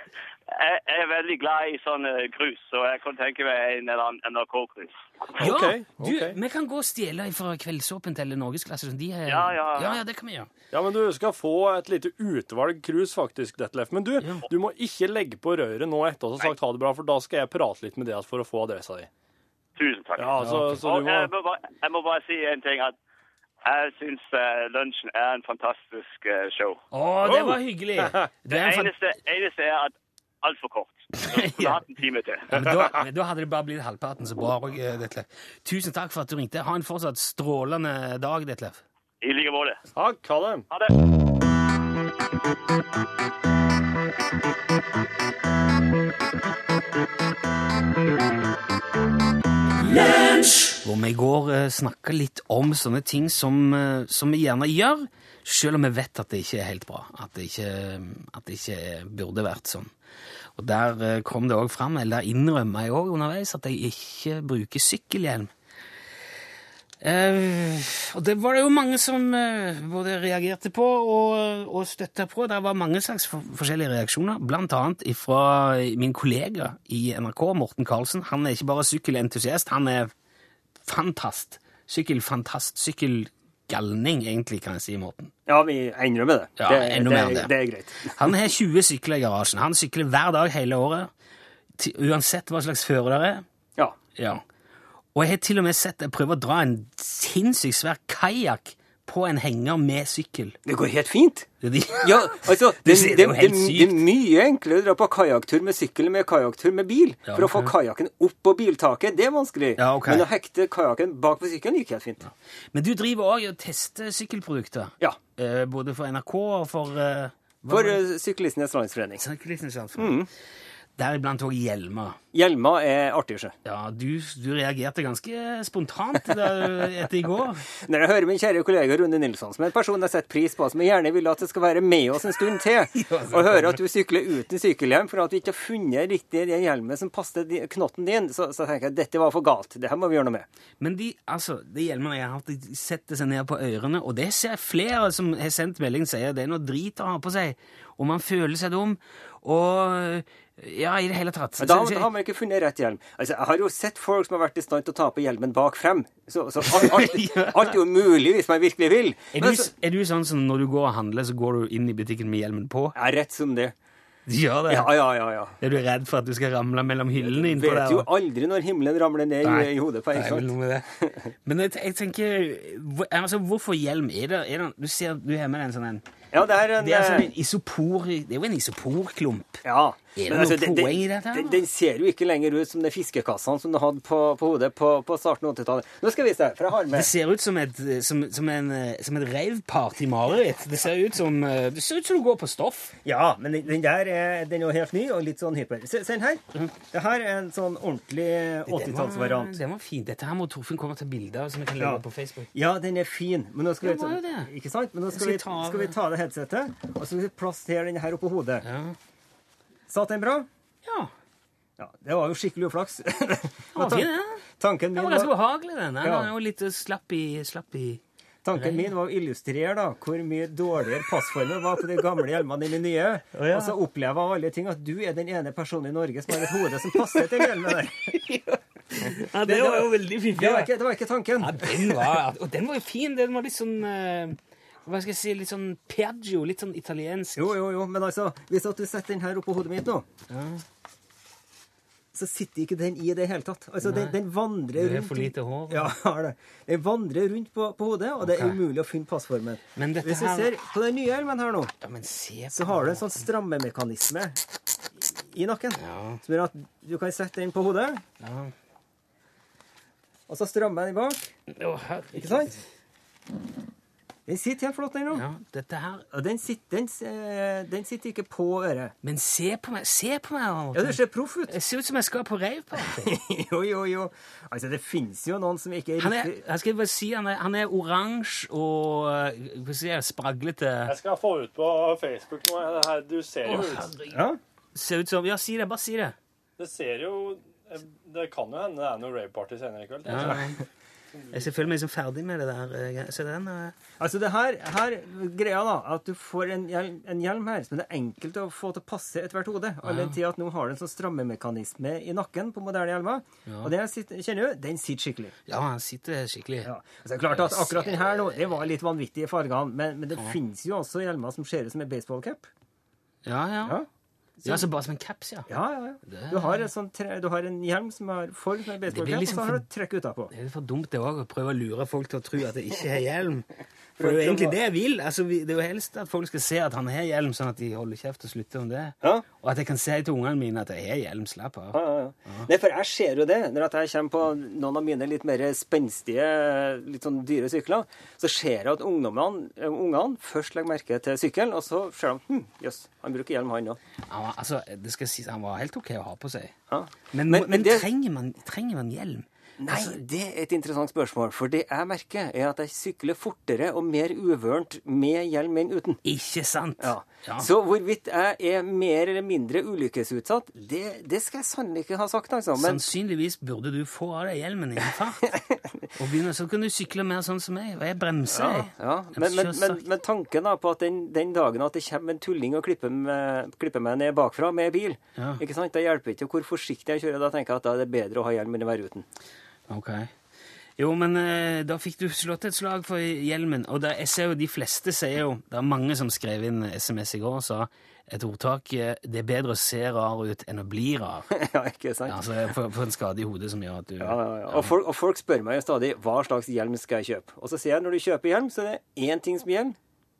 [SPEAKER 7] *laughs* jeg, jeg er veldig glad i sånn, sånne krus, så jeg kunne tenke meg en eller annen NRK-krus.
[SPEAKER 6] Ja!
[SPEAKER 8] Ok,
[SPEAKER 6] du,
[SPEAKER 8] ok.
[SPEAKER 6] Vi kan gå og stjele fra Kveldsåpent eller Norgesklasse. Sånn de har-
[SPEAKER 7] Ja, ja, ja.
[SPEAKER 6] ja, det kan vi gjøre.
[SPEAKER 8] ja, men du skal få et lite utvalg krus, faktisk, Detlef. Men du, du må ikke legge på røret nå etter at du har sagt ha det bra, for da skal jeg prate litt med deg for å få adressa di.
[SPEAKER 7] Tusen takk.
[SPEAKER 8] Ja, så, så du
[SPEAKER 7] Og eh,
[SPEAKER 8] må
[SPEAKER 7] jeg må, bare, jeg må bare si en ting, at jeg syns eh, lunsjen er en fantastisk eh, show.
[SPEAKER 6] Å, det var hyggelig! Det er en fan-
[SPEAKER 7] Eneste, eneste er at altfor kort. Så skulle jeg hatt en time til.
[SPEAKER 6] *laughs* Ja, men da, men da hadde det bare blitt halvparten så bra. Og, eh, Detlef. Tusen takk for at du ringte. Ha en fortsatt strålende dag, Detlef.
[SPEAKER 7] I like måte.
[SPEAKER 8] Takk, ha det.
[SPEAKER 7] Ha det.
[SPEAKER 6] Hvor vi i går eh, snakka litt om sånne ting som, eh, som vi gjerne gjør, selv om vi vet at det ikke er helt bra. At det ikke, at det ikke burde vært sånn. Og der eh, kom det òg fram, eller der innrømma jeg òg underveis, at jeg ikke bruker sykkelhjelm. Eh, og det var det jo mange som eh, både reagerte på og, og støtta på. Det var mange slags for, forskjellige reaksjoner, blant annet fra min kollega i NRK, Morten Karlsen. Han er ikke bare sykkelentusiast, han er fantast. Sykkelfantast. Sykkelgalning, egentlig, kan jeg si, Morten.
[SPEAKER 8] Ja, vi innrømmer det.
[SPEAKER 6] Ja, Det- enda mer enn det- det
[SPEAKER 8] er greit.
[SPEAKER 6] Han har 20 sykler i garasjen. Han sykler hver dag hele året, til, uansett hva slags fører det er.
[SPEAKER 8] Ja.
[SPEAKER 6] Ja. Og jeg har til og med sett deg prøve å dra en sinnssykt svær kajakk på en henger med sykkel.
[SPEAKER 1] Det går helt fint.
[SPEAKER 6] Det er de-
[SPEAKER 1] *laughs* Ja, altså,
[SPEAKER 6] Du
[SPEAKER 1] det,
[SPEAKER 6] sier
[SPEAKER 1] det,
[SPEAKER 6] det
[SPEAKER 1] det,
[SPEAKER 6] er jo helt
[SPEAKER 1] det er
[SPEAKER 6] sykt.
[SPEAKER 1] mye enklere å dra på kajakktur med sykkel enn med kajakktur med bil.
[SPEAKER 6] Ja,
[SPEAKER 1] For å få
[SPEAKER 6] ok.
[SPEAKER 1] kajakken opp på biltaket, det er vanskelig.
[SPEAKER 6] Ja, ok.
[SPEAKER 1] Men å hekte kajakken bak på sykkelen gikk helt fint.
[SPEAKER 6] *laughs* Men du driver òg og tester sykkelprodukter.
[SPEAKER 1] Ja.
[SPEAKER 6] Eh, både for NRK og for eh, hva
[SPEAKER 1] For
[SPEAKER 6] var det?
[SPEAKER 1] eh, mm. Syklistenes Landsforening.
[SPEAKER 6] Syklistenes Landsforening. Deriblant òg hjelmer.
[SPEAKER 1] Hjelmer er artig, sjø.
[SPEAKER 6] Ja, du, du reagerte ganske spontant
[SPEAKER 1] *laughs*
[SPEAKER 6] da, etter i går.
[SPEAKER 1] Når jeg hører min kjære kollega Rune Nilsson, som er en person jeg setter pris på, som jeg gjerne vil at det skal være med oss en stund
[SPEAKER 6] *laughs*
[SPEAKER 1] til, og hører at du sykler uten sykkelhjelm for at du ikke har funnet riktig den hjelmen som passer di- knotten din, så, så tenker jeg dette var for galt. Det her må vi gjøre noe med.
[SPEAKER 6] Men de, altså, de hjelmene jeg har hatt, de setter seg ned på ørene, og det ser jeg flere som har sendt melding, sier det er noe drit å ha på seg, og man føler seg dum, og ja, i det hele tatt.
[SPEAKER 1] Men da,
[SPEAKER 6] Så- så-
[SPEAKER 1] da har man ikke funnet rett hjelm. Altså, Jeg har jo sett folk som har vært i stand til å ta på hjelmen bak frem. Så, så
[SPEAKER 6] *laughs*
[SPEAKER 1] alt, alt, alt er jo mulig hvis man virkelig vil.
[SPEAKER 6] er,
[SPEAKER 1] Men
[SPEAKER 6] du,
[SPEAKER 1] så,
[SPEAKER 6] er du sånn som når du går og handler, så går du inn i butikken med hjelmen på?
[SPEAKER 1] ja, rett som det.
[SPEAKER 6] Gjør det?
[SPEAKER 1] Ja, ja, ja. ja.
[SPEAKER 6] Er du redd for at du skal ramle mellom hyllene innpå der?
[SPEAKER 1] Vet jo aldri når himmelen ramler ned i, i hodet på en.
[SPEAKER 6] Nei,
[SPEAKER 1] sant?
[SPEAKER 6] vel noe med det.
[SPEAKER 1] *laughs*
[SPEAKER 6] Men jeg, jeg tenker, hvor- altså, hvorfor hjelm? Er det, er det, du ser, du har med deg en sånn en.
[SPEAKER 1] Ja, det er en,
[SPEAKER 6] Det er, sånn
[SPEAKER 1] eh,
[SPEAKER 6] en isopor, det er jo en isoporklump.
[SPEAKER 1] Ja.
[SPEAKER 6] det
[SPEAKER 1] men
[SPEAKER 6] noe
[SPEAKER 1] den-
[SPEAKER 6] poeng i dette her,
[SPEAKER 1] Den,
[SPEAKER 6] da?
[SPEAKER 1] den ser jo ikke lenger ut som de fiskekassene som du hadde på, på hodet på, på starten av 80-tallet. Nå skal jeg vise deg, for jeg har
[SPEAKER 6] Det
[SPEAKER 1] med
[SPEAKER 6] ser ut som et, som, som en, eh, som et reivparty mareritt. Det ser ut som eh, Det ser ut som du går på stoff.
[SPEAKER 1] Ja, men den- den der er, den er jo helt ny og litt sånn hyper. Se, se den her. Det her er en sånn ordentlig
[SPEAKER 6] Den var-
[SPEAKER 1] 80-tallsvariant.
[SPEAKER 6] Den var fin. Dette her må Torfinn komme til bilde av, som vi kan legge
[SPEAKER 1] Ja.
[SPEAKER 6] ut på Facebook.
[SPEAKER 1] Ja, den er fin, men nå skal,
[SPEAKER 6] Den var
[SPEAKER 1] vi,
[SPEAKER 6] jo det.
[SPEAKER 1] ikke sant? Men nå skal,
[SPEAKER 6] Skal vi
[SPEAKER 1] vi,
[SPEAKER 6] ta av-
[SPEAKER 1] skal vi ta av det headsetet, og så skal vi plassere den her oppå hodet.
[SPEAKER 6] Ja.
[SPEAKER 1] Satt den bra?
[SPEAKER 6] ja.
[SPEAKER 1] Ja, det var jo skikkelig uflaks. *laughs* Men
[SPEAKER 6] fin,
[SPEAKER 1] tan-
[SPEAKER 6] den.
[SPEAKER 1] tanken min
[SPEAKER 6] Den var ganske
[SPEAKER 1] var,
[SPEAKER 6] behagelig, den. Den
[SPEAKER 1] Ja.
[SPEAKER 6] var jo litt slapp i, slapp i
[SPEAKER 1] tanken min var å illustrere da, hvor mye dårligere passformen var på de gamle hjelmene enn de nye. Og så opplever jeg av alle ting at du er den ene personen i Norge som har et hode som passer til hjelmen der.
[SPEAKER 6] Ja, det, var jo veldig fiffig.
[SPEAKER 1] Det var
[SPEAKER 6] da.
[SPEAKER 1] ikke, det var ikke tanken.
[SPEAKER 6] Ja, den var, og den var jo fin. Den var litt sånn eh, Hva skal jeg si? Litt sånn Piaggio. Litt sånn italiensk.
[SPEAKER 1] Jo, jo, jo, men altså, hvis at du setter den her oppå hodet mitt nå, så sitter ikke den i det hele tatt. Altså, den, den vandrer
[SPEAKER 6] Det er
[SPEAKER 1] rundt.
[SPEAKER 6] for lite hår.
[SPEAKER 1] Ja, *laughs* har det. Den vandrer rundt på, på hodet, og det er
[SPEAKER 6] Ok.
[SPEAKER 1] umulig å finne passformen.
[SPEAKER 6] Men dette
[SPEAKER 1] hvis du
[SPEAKER 6] her-
[SPEAKER 1] ser på den nye hjelmen her nå,
[SPEAKER 6] Ja, men se
[SPEAKER 1] så har du en sånn strammemekanisme i nakken. Som gjør at du kan sette den på hodet,
[SPEAKER 6] Ja.
[SPEAKER 1] og så strammer jeg den bak.
[SPEAKER 6] Å, herregud.
[SPEAKER 1] Ikke sant? Den sitter helt flott, den nå.
[SPEAKER 6] Ja, dette her
[SPEAKER 1] Og den sitter, den, s- eh, den sitter ikke på øret.
[SPEAKER 6] Men se på meg! Se på meg! Arne.
[SPEAKER 1] Ja, du ser proff ut.
[SPEAKER 6] Jeg ser ut som jeg skal på raveparty.
[SPEAKER 1] *laughs* Jo, jo, jo. Altså, det finnes jo noen som ikke er
[SPEAKER 6] Han er,
[SPEAKER 1] riktig
[SPEAKER 6] jeg skal bare si, han er, han er oransje og eh, hva skal jeg si, spraglete.
[SPEAKER 8] Jeg skal få ut på Facebook nå. det her- Du ser jo ut
[SPEAKER 1] Ja,
[SPEAKER 6] Ser ut som Ja, si det. Bare si det.
[SPEAKER 8] Det ser jo Det kan jo hende det er noe rave-party senere i kveld.
[SPEAKER 6] Ja, nei. jeg ser- føler meg liksom ferdig med det der. eh, greia. Se den. eh.
[SPEAKER 1] altså det her, her greia da, at du får en hjelm, en hjelm her som det er enkelt å få til å passe ethvert hode. All den tid at nå har du en sånn strammemekanisme i nakken på moderne hjelmer. Og den jeg sitter, kjenner du, den sitter skikkelig.
[SPEAKER 6] Ja, han sitter skikkelig.
[SPEAKER 1] Ja. Altså, det er klart at akkurat den her nå, det var litt vanvittige fargene, men, men det finnes jo også hjelmer som ser ut som en baseballcap.
[SPEAKER 6] Ja, ja.
[SPEAKER 1] Ja.
[SPEAKER 6] Ja, så bare som en caps, ja.
[SPEAKER 1] Ja, ja, ja. Du har, en sånn tre, du har en hjelm som har form som en baseballcap,
[SPEAKER 6] liksom
[SPEAKER 1] og så har du
[SPEAKER 6] for-
[SPEAKER 1] et trekk utapå.
[SPEAKER 6] Det er for dumt det òg, å prøve å lure folk til å tro at jeg ikke har
[SPEAKER 1] *laughs*
[SPEAKER 6] hjelm. For det er jo egentlig det jeg vil. Altså, vi- det er jo helst at folk skal se at han har hjelm, sånn at de holder kjeft og slutter om det.
[SPEAKER 1] Ja.
[SPEAKER 6] Og at jeg kan si til ungene mine at jeg har hjelm, slapp av.
[SPEAKER 1] Ja, ja, ja. Nei, for jeg ser jo det. Når at jeg kommer på noen av mine litt mer spenstige, litt sånn dyre sykler, så ser jeg at ungdommene, eh, ungene først legger merke til sykkelen, og så ser de hm, jøss, han bruker hjelm, han òg.
[SPEAKER 6] Han var, altså, det skal sies, han var helt OK å ha på seg.
[SPEAKER 1] Ja.
[SPEAKER 6] Men,
[SPEAKER 1] Men-
[SPEAKER 6] men,
[SPEAKER 1] men det-
[SPEAKER 6] trenger, man, trenger man hjelm? Altså,
[SPEAKER 1] Nei, det er et interessant spørsmål. For det jeg merker, er at jeg sykler fortere og mer uvørent med hjelm enn uten.
[SPEAKER 6] Ikke sant?
[SPEAKER 1] Ja. Så hvorvidt jeg er mer eller mindre ulykkesutsatt, det, det skal jeg sannelig ikke ha sagt, altså. Men
[SPEAKER 6] Sannsynligvis burde du få av deg hjelmen i en fart.
[SPEAKER 1] *laughs*
[SPEAKER 6] og begynne, så kan du sykle mer sånn som meg, og jeg bremser. jeg.
[SPEAKER 1] Ja,
[SPEAKER 6] Jeg
[SPEAKER 1] men, men, men,
[SPEAKER 6] selvsagt.
[SPEAKER 1] men tanken da på at den, den dagen at det kommer en tulling og klipper, med, klipper meg ned bakfra med bil,
[SPEAKER 6] Ja.
[SPEAKER 1] ikke sant? da hjelper ikke hvor forsiktig jeg kjører. Da tenker jeg at da er det bedre å ha hjelm enn å være uten. *laughs*
[SPEAKER 6] Ok. Jo, men eh, da fikk du slått et slag for hjelmen. Og da, jeg ser jo de fleste sier jo Det er mange som skrev inn SMS i går og sa et ordtak eh, 'Det er bedre å se rar ut enn å bli rar'.
[SPEAKER 1] ja, ikke sant?
[SPEAKER 6] Altså få få en skade i hodet som gjør at du
[SPEAKER 1] Ja, ja, ja. Og, folk, og folk spør meg jo stadig hva slags hjelm skal jeg kjøpe. Og så sier jeg når du kjøper hjelm, så er det én ting som gjelder,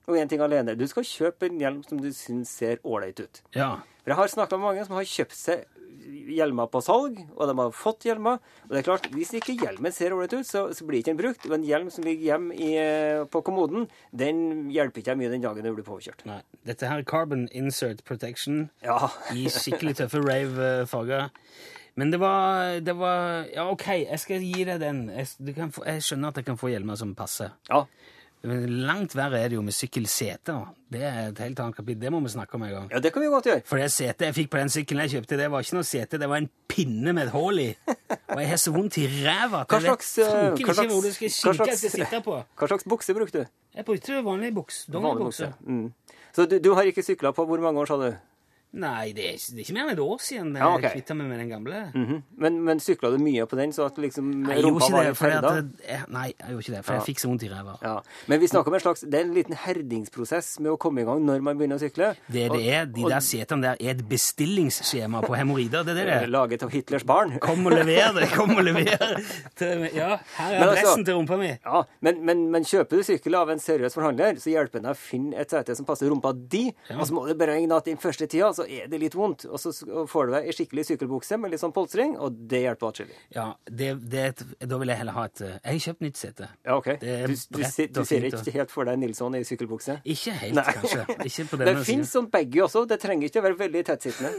[SPEAKER 1] og én ting alene. Du skal kjøpe en hjelm som du syns ser ålreit ut.
[SPEAKER 6] Ja.
[SPEAKER 1] For jeg har snakka med mange som har kjøpt seg hjelmer på salg, og de har fått hjelmer. Og det er klart, hvis ikke hjelmen ser ålreit ut, så, så blir ikke den brukt. Men hjelm som ligger hjemme i, eh, på kommoden, den hjelper ikke deg mye den dagen du blir påkjørt.
[SPEAKER 6] Nei. Dette her er carbon insert protection
[SPEAKER 1] Ja.
[SPEAKER 6] i skikkelig tøffe rave-farger. Men det var, det var Ja, OK, jeg skal gi deg den. Jeg, du kan få, jeg skjønner at jeg kan få hjelmer som passer.
[SPEAKER 1] ja.
[SPEAKER 6] Men langt verre er det jo med sykkelseter. Det er et helt annet kapittel. Det må vi snakke om en gang.
[SPEAKER 1] Ja, det kan vi godt gjøre.
[SPEAKER 6] For det setet jeg fikk på den sykkelen jeg kjøpte, det var ikke noe sete, det var en pinne med et hull i. Og jeg har så vondt i ræva at
[SPEAKER 1] Hva
[SPEAKER 6] jeg vet
[SPEAKER 1] slags, eh,
[SPEAKER 6] fanken
[SPEAKER 1] hva slags-
[SPEAKER 6] ikke hvor du skal
[SPEAKER 1] hva
[SPEAKER 6] skinke jeg skal
[SPEAKER 1] slags-
[SPEAKER 6] sitte på.
[SPEAKER 1] *laughs* Hva slags bukse brukte du?
[SPEAKER 6] Jeg brukte vanlig buks.
[SPEAKER 1] Vanlig
[SPEAKER 6] Dongeribukse.
[SPEAKER 1] Mm. Så du, du har ikke sykla på hvor mange år, sa du?
[SPEAKER 6] Nei, det er, ikke- det er ikke mer enn et år siden jeg
[SPEAKER 1] Ja, ok.
[SPEAKER 6] kvittet meg med den gamle.
[SPEAKER 1] Mhm. Men, men sykla du mye på den, så at liksom
[SPEAKER 6] Nei, jeg gjorde
[SPEAKER 1] rumpa
[SPEAKER 6] ikke
[SPEAKER 1] var
[SPEAKER 6] det,
[SPEAKER 1] litt
[SPEAKER 6] for at,
[SPEAKER 1] ferda?
[SPEAKER 6] jeg, nei, jeg gjorde ikke det, for jeg fikk så vondt i ræva.
[SPEAKER 1] Ja. Men vi snakker om en slags, det er en liten herdingsprosess med å komme i gang når man begynner å sykle.
[SPEAKER 6] Det det er, de der setene der er et bestillingsskjema på hemoroider, det er det det
[SPEAKER 1] *laughs*
[SPEAKER 6] er.
[SPEAKER 1] Laget av Hitlers barn.
[SPEAKER 6] Kom og lever det, kom og lever. Til- Ja, her er
[SPEAKER 1] Men altså-
[SPEAKER 6] adressen til rumpa mi.
[SPEAKER 1] *laughs* Ja, men, men, men kjøper du sykkel av en seriøs forhandler, så hjelper den deg å finne et sete som passer rumpa di. Og så må du beregne at den første tida så er det litt vondt, og så s- og får du deg ei skikkelig sykkelbukse med litt sånn polstring, og det hjelper atskillig.
[SPEAKER 6] Ja, det, det, er et- da vil jeg heller ha et eh, Jeg har kjøpt nytt sete.
[SPEAKER 1] Ja, OK.
[SPEAKER 6] Det er
[SPEAKER 1] Du, du,
[SPEAKER 6] bredt
[SPEAKER 1] ser- du
[SPEAKER 6] og
[SPEAKER 1] ser
[SPEAKER 6] fint,
[SPEAKER 1] ikke
[SPEAKER 6] og-
[SPEAKER 1] helt for deg Nilsson i sykkelbukse?
[SPEAKER 6] Ikke helt,
[SPEAKER 1] Nei.
[SPEAKER 6] kanskje. Ikke
[SPEAKER 1] *laughs*
[SPEAKER 6] på
[SPEAKER 1] Det
[SPEAKER 6] denne
[SPEAKER 1] fins
[SPEAKER 6] siden.
[SPEAKER 1] sånn baggy også, det trenger ikke å være veldig tettsittende.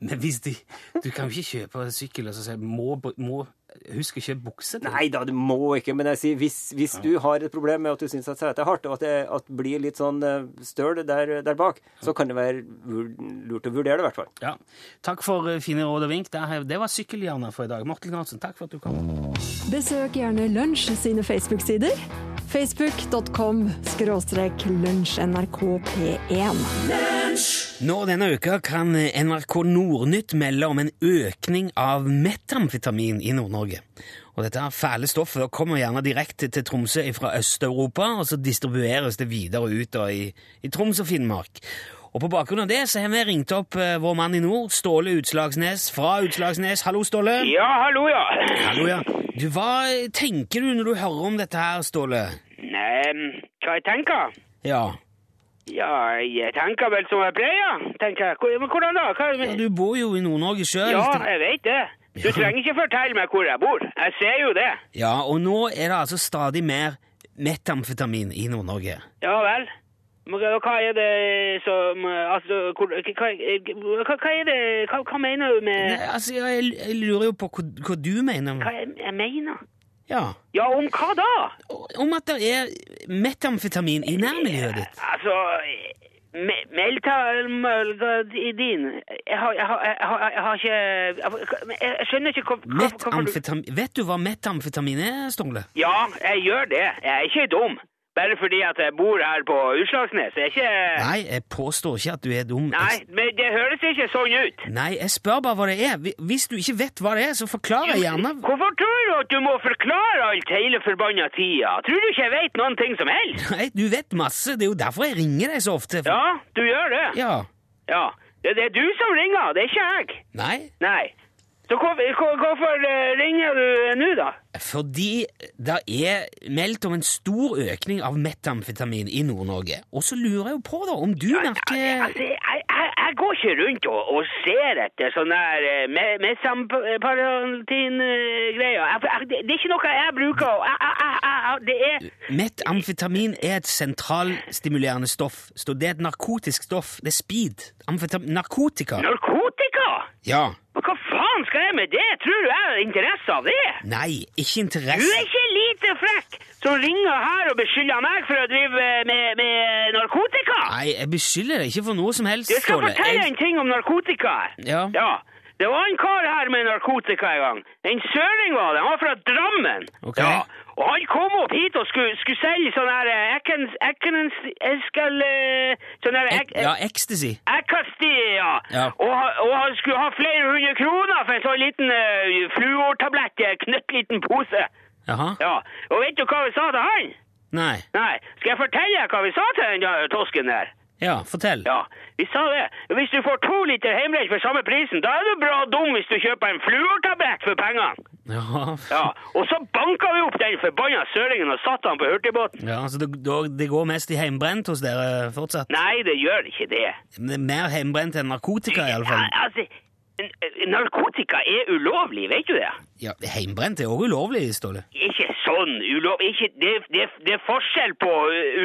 [SPEAKER 6] Men hvis de Du kan jo ikke kjøpe sykkel og så si må, br- må Jeg husker ikke bukse til.
[SPEAKER 1] Nei da, du må ikke, men jeg sier hvis, hvis du har et problem med at du syns at setet er hardt, og at det at det blir litt sånn eh, støl der, der bak, så kan det være vur- lurt å vurdere det, i hvert fall.
[SPEAKER 6] Ja. Takk for eh, fine råd og vink. Det er- Det var Sykkelhjernen for i dag. Morten Knutsen, takk for at du kom.
[SPEAKER 9] Besøk gjerne Lunsj sine Facebook-sider. Facebook.com skråstrek lunsjnrkp1.
[SPEAKER 6] Nå denne uka kan NRK Nordnytt melde om en økning av metamfetamin i Nord-Norge. Og dette fæle stoffet kommer gjerne direkte til Tromsø fra Øst-Europa, og så distribueres det videre ut da, i, i Troms og Finnmark. Og på bakgrunn av det så har vi ringt opp eh, vår mann i nord, Ståle Utslagsnes fra Utslagsnes. Hallo, Ståle.
[SPEAKER 10] Ja, hallo, ja.
[SPEAKER 6] Hallo, ja. Du, hva tenker du når du hører om dette her, Ståle?
[SPEAKER 10] Nei, hva jeg tenker?
[SPEAKER 6] Ja.
[SPEAKER 10] Ja, jeg tenker vel som jeg pleier, tenker jeg. Hvor- Men hvordan da? Hva,
[SPEAKER 6] ja du bor jo i Nord-Norge sjøl.
[SPEAKER 10] ja, jeg vet det. Du
[SPEAKER 6] Ja.
[SPEAKER 10] trenger ikke fortelle meg hvor jeg bor. Jeg ser jo det.
[SPEAKER 6] Ja, og nå er det altså stadig mer metamfetamin i Nord-Norge.
[SPEAKER 10] Ja vel. Men hva hva er det som Altså, hvor, hva, hva, hva er det Hva, hva mener du med
[SPEAKER 6] Nei, Altså, jeg, jeg lurer jo på hva, hva du mener.
[SPEAKER 10] Hva jeg, jeg mener?
[SPEAKER 6] Ja.
[SPEAKER 10] Ja, om hva da?
[SPEAKER 6] Og- Om at det er metamfetamin i nærmiljøet ditt.
[SPEAKER 10] Altså me- Meltamfetamin jeg, har- jeg, har- jeg, har- jeg har ikke Jeg, jeg skjønner ikke hva, hva, hva, hva du
[SPEAKER 6] Metamfetamin. Vet du hva metamfetamin er, Ståle?
[SPEAKER 10] Ja, jeg gjør det. Jeg er ikke dum. Bare fordi at jeg bor her på Utslagsnes. Jeg er ikke
[SPEAKER 6] Nei, jeg påstår ikke at du er dum.
[SPEAKER 10] Nei,
[SPEAKER 6] Jeg-
[SPEAKER 10] men det høres ikke sånn ut.
[SPEAKER 6] Nei, jeg spør bare hva det er. Hvi- Hvis du ikke vet hva det er, så forklarer jeg gjerne.
[SPEAKER 10] Hvorfor tror du at du må forklare alt hele forbanna tida? Tror du ikke jeg vet noen ting som helst?
[SPEAKER 6] Nei, du vet masse. Det er jo derfor jeg ringer deg så ofte.
[SPEAKER 10] Ja, du gjør det. Ja.
[SPEAKER 6] Ja.
[SPEAKER 10] Det, det er du som ringer, det er ikke jeg.
[SPEAKER 6] Nei,
[SPEAKER 10] Nei. Så hvor, hvor, hvorfor eh, ringer du eh, nå, da?
[SPEAKER 6] Fordi det er meldt om en stor økning av metamfetamin i Nord-Norge. Og så lurer jeg jo på da, om du merker
[SPEAKER 10] Altså, jeg, jeg, jeg går ikke rundt og, og ser etter sånne her eh, me- mesamparantin-greier. Jeg- jeg- Det, det er ikke noe jeg bruker. og Jeg, jeg, jeg, jeg, jeg- det er
[SPEAKER 6] Metamfetamin er et sentralstimulerende stoff. Så det er et narkotisk stoff. Det er speed. Amfetam narkotika.
[SPEAKER 10] narkotika!
[SPEAKER 6] Ja.
[SPEAKER 10] Men hva faen skal jeg med det? Tror du jeg har interesse av det?
[SPEAKER 6] Nei, ikke
[SPEAKER 10] Du er
[SPEAKER 6] interesse.
[SPEAKER 10] ikke lite frekk som ringer her og beskylder meg for å drive eh, med, med narkotika!
[SPEAKER 6] Nei, jeg beskylder deg ikke for noe som helst,
[SPEAKER 10] Jeg skal
[SPEAKER 6] Ståle.
[SPEAKER 10] fortelle
[SPEAKER 6] Jeg-
[SPEAKER 10] en ting om narkotika.
[SPEAKER 6] Ja.
[SPEAKER 10] ja. Det var en kar her med narkotika en gang. En søring var det. Han var fra Drammen.
[SPEAKER 6] Ok.
[SPEAKER 10] Ja. Og han kom opp hit og skulle, skulle selge sånn her eh, Ekkens... Ekkens... Eskal... eh, Sånn her... Ek,
[SPEAKER 6] Ek- Ja, ecstasy.
[SPEAKER 10] Ekkasti, ja.
[SPEAKER 6] Ja.
[SPEAKER 10] Og, han- og han skulle ha flere hundre kroner for en sånn liten uh, fluortablett i en knøttliten pose.
[SPEAKER 6] Jaha.
[SPEAKER 10] Ja. Og vet du hva vi sa til han?
[SPEAKER 6] Nei.
[SPEAKER 10] Nei. Skal jeg fortelle deg hva vi sa til den der tosken der?
[SPEAKER 6] Ja, fortell.
[SPEAKER 10] Ja, vi sa det. Hvis du får to liter hjemmebrent for samme prisen, da er du bra dum hvis du kjøper en fluortablett for pengene.
[SPEAKER 6] Ja.
[SPEAKER 10] Ja, og så banka vi opp den forbanna søringen og satte han på hurtigbåten.
[SPEAKER 6] Ja, altså det, det går mest i heimbrent hos dere fortsatt?
[SPEAKER 10] Nei, det gjør ikke det.
[SPEAKER 6] Det er Mer heimbrent enn narkotika, iallfall.
[SPEAKER 10] Ja, altså, n- narkotika er ulovlig, vet du det?
[SPEAKER 6] Ja, heimbrent er også ulovlig, Ståle.
[SPEAKER 10] Ikke sånn ulov... Ikke, det, det, det er forskjell på uh,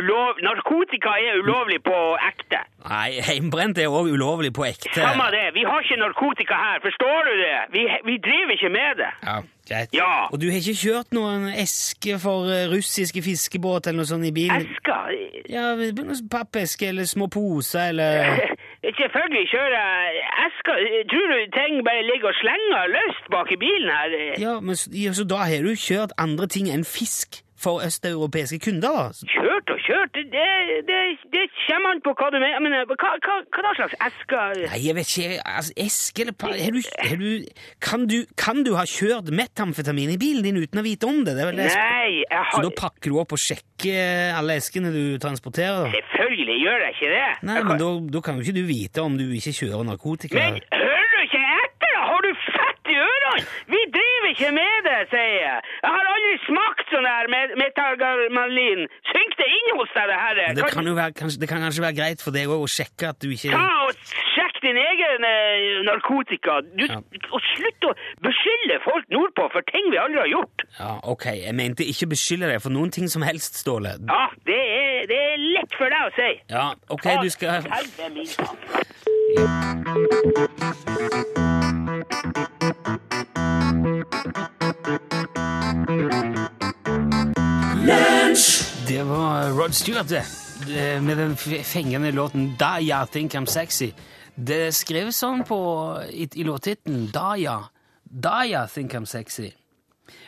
[SPEAKER 10] ulov... Narkotika er ulovlig på ekte.
[SPEAKER 6] Nei, heimbrent er også ulovlig på ekte.
[SPEAKER 10] Samme det. Vi har ikke narkotika her, forstår du det? Vi, vi driver ikke med det.
[SPEAKER 6] Ja, greit.
[SPEAKER 10] Ja.
[SPEAKER 6] Og du har ikke kjørt noen eske for eh, russiske fiskebåt eller noe sånt i bilen?
[SPEAKER 10] Esker
[SPEAKER 6] Ja, noen pappeske eller små poser eller
[SPEAKER 10] Selvfølgelig kjører jeg esker. Tror du ting bare ligger og slenger løst bak i bilen her?
[SPEAKER 6] Ja, men s- ja, så da har du kjørt andre ting enn fisk for østeuropeiske kunder, da? S-
[SPEAKER 10] Kjørt og kjørt, det, det, det kommer an på hva du mener. Men eh, hva, hva, hva da slags esker?
[SPEAKER 6] Nei, jeg vet ikke, altså, eske eller pa... Har du, har du, kan, du, kan du ha kjørt metamfetamin i bilen din uten å vite om det? det, er vel det jeg spør-
[SPEAKER 10] Nei, jeg
[SPEAKER 6] Så
[SPEAKER 10] har...
[SPEAKER 6] da pakker du opp og sjekker eh, alle eskene du transporterer? da?
[SPEAKER 10] Selvfølgelig gjør jeg ikke det.
[SPEAKER 6] Nei,
[SPEAKER 10] Jeg
[SPEAKER 6] men
[SPEAKER 10] kan-
[SPEAKER 6] da, da kan jo ikke du vite om du ikke kjører narkotika.
[SPEAKER 10] Men hører du ikke etter? da? Har du fett i ørene? Vi driver ikke med det, sier jeg. Jeg har aldri smakt sånn her med metalgalmalin. Synk det inn hos deg, det her.
[SPEAKER 6] Men det kan jo være, kanskje, det kan kanskje være greit for deg òg å sjekke at du ikke
[SPEAKER 10] Ta og sjekk din egen eh, narkotika. Du,
[SPEAKER 6] Ja.
[SPEAKER 10] Og slutt å beskylde folk nordpå for ting vi aldri har gjort.
[SPEAKER 6] Ja, ok, jeg mente ikke beskylde deg for noen ting som helst, Ståle.
[SPEAKER 10] Ja, det er, det er lett for deg å si.
[SPEAKER 6] Ja, ok, du skal
[SPEAKER 10] Helvete min, da.
[SPEAKER 6] Stuart, det, det, med den f- fengende låten Da Ja, Think I'm Sexy. Det skrev sånn på, i, i låttittelen Da Ja, Da Ja, Think I'm Sexy.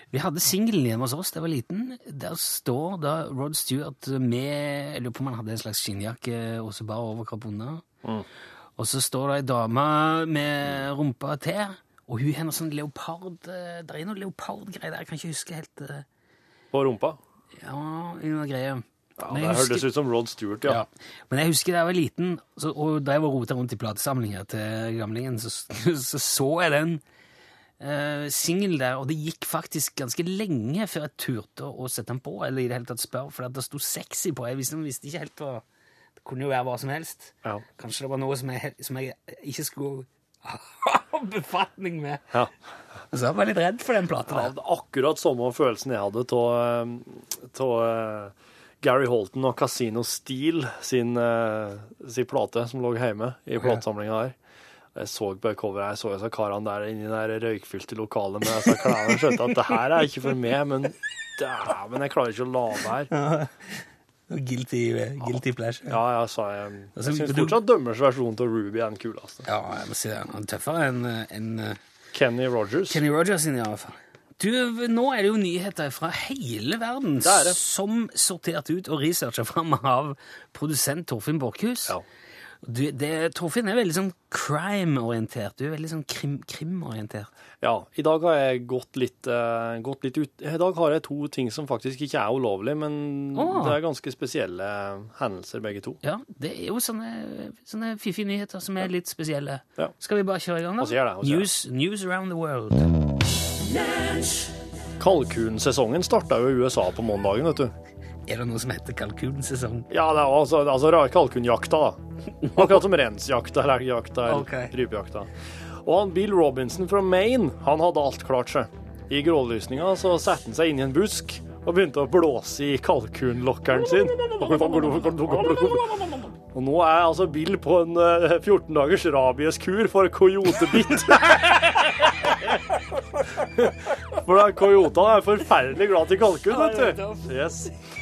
[SPEAKER 6] Vi hadde singelen hjemme hos oss da jeg var liten. Der står da Rod Stewart med Jeg lurer på om han hadde en slags skinnjakke og så bare overkropp under. Og så står det ei dame med rumpa til, og hun har noe sånn leopard eh, Det er noe leopardgreier der, jeg kan ikke huske helt eh,
[SPEAKER 11] På rumpa.
[SPEAKER 6] Ja, noe greier.
[SPEAKER 11] Ja,
[SPEAKER 6] Men
[SPEAKER 11] det
[SPEAKER 6] jeg husker-
[SPEAKER 11] hørtes ut som Rod Stewart, ja.
[SPEAKER 6] ja. Men jeg husker da jeg var liten, så, og da jeg var rota rundt i platesamlinger til gamlingen, så *laughs* så, så jeg den uh, singelen der, og det gikk faktisk ganske lenge før jeg turte å sette den på, eller i det hele tatt spørre, for at det sto sexy på. Jeg visste, visste ikke helt hva Det kunne jo være hva som helst.
[SPEAKER 11] Ja.
[SPEAKER 6] Kanskje det var noe som jeg, som jeg ikke skulle *laughs* ha befatning med.
[SPEAKER 11] Ja.
[SPEAKER 6] Så jeg var litt redd for den plata
[SPEAKER 11] Ja,
[SPEAKER 6] der.
[SPEAKER 11] det er akkurat samme følelsen jeg hadde eh, av Gary Holton og Casino Steel sin, eh, sin plate som lå hjemme i platesamlinga der. Jeg så på coveret, jeg så disse karene der inni det der røykfylte lokalet med disse klærne og skjønte at det her er ikke for meg, men dæven, jeg klarer ikke å la være.
[SPEAKER 6] Guilty, eh, guilty pleasure.
[SPEAKER 11] Ja, ja, sa um, jeg.
[SPEAKER 6] Altså,
[SPEAKER 11] Jeg syns fortsatt dømmers versjon av Ruby er den kuleste.
[SPEAKER 6] Ja, jeg må si det. Han er tøffere enn enn- eh,
[SPEAKER 11] Kenny Rogers.
[SPEAKER 6] Kenny Rogers sin, i alle fall. Du, nå er det jo nyheter fra hele verden
[SPEAKER 11] Det er det.
[SPEAKER 6] som sortert ut og researcha fram av produsent Torfinn Borchhus.
[SPEAKER 11] Ja.
[SPEAKER 6] Du, det, Torfinn er veldig sånn crime-orientert. Du er veldig sånn krim- krim-orientert.
[SPEAKER 11] Ja, i dag har jeg gått litt, eh, gått litt ut. I dag har jeg to ting som faktisk ikke er ulovlig, men
[SPEAKER 6] Åh.
[SPEAKER 11] det er ganske spesielle hendelser begge to.
[SPEAKER 6] ja, det er jo sånne, sånne fiffige nyheter som er litt spesielle.
[SPEAKER 11] Ja.
[SPEAKER 6] Skal vi bare kjøre i gang, da?
[SPEAKER 11] Og så gjør det, og så gjør
[SPEAKER 6] news, news around the world.
[SPEAKER 11] Kalkunsesongen starta jo i USA på mandagen, vet du.
[SPEAKER 6] Er det noe som heter kalkunsesong?
[SPEAKER 11] Ja, det er altså, altså ra- kalkunjakta, da. Akkurat som rensjakta, elgjakta, eller
[SPEAKER 6] Ok.
[SPEAKER 11] rypejakta. Og han Bill Robinson fra Maine, han hadde alt klart seg. I grålysninga så satte han seg inn i en busk og begynte å blåse i kalkunlokkeren sin. Og nå er altså Bill på en eh, 14 dagers rabieskur for coyotebitt. *laughs* For da, coyotene er forferdelig glad i kalkun, vet du. Yes.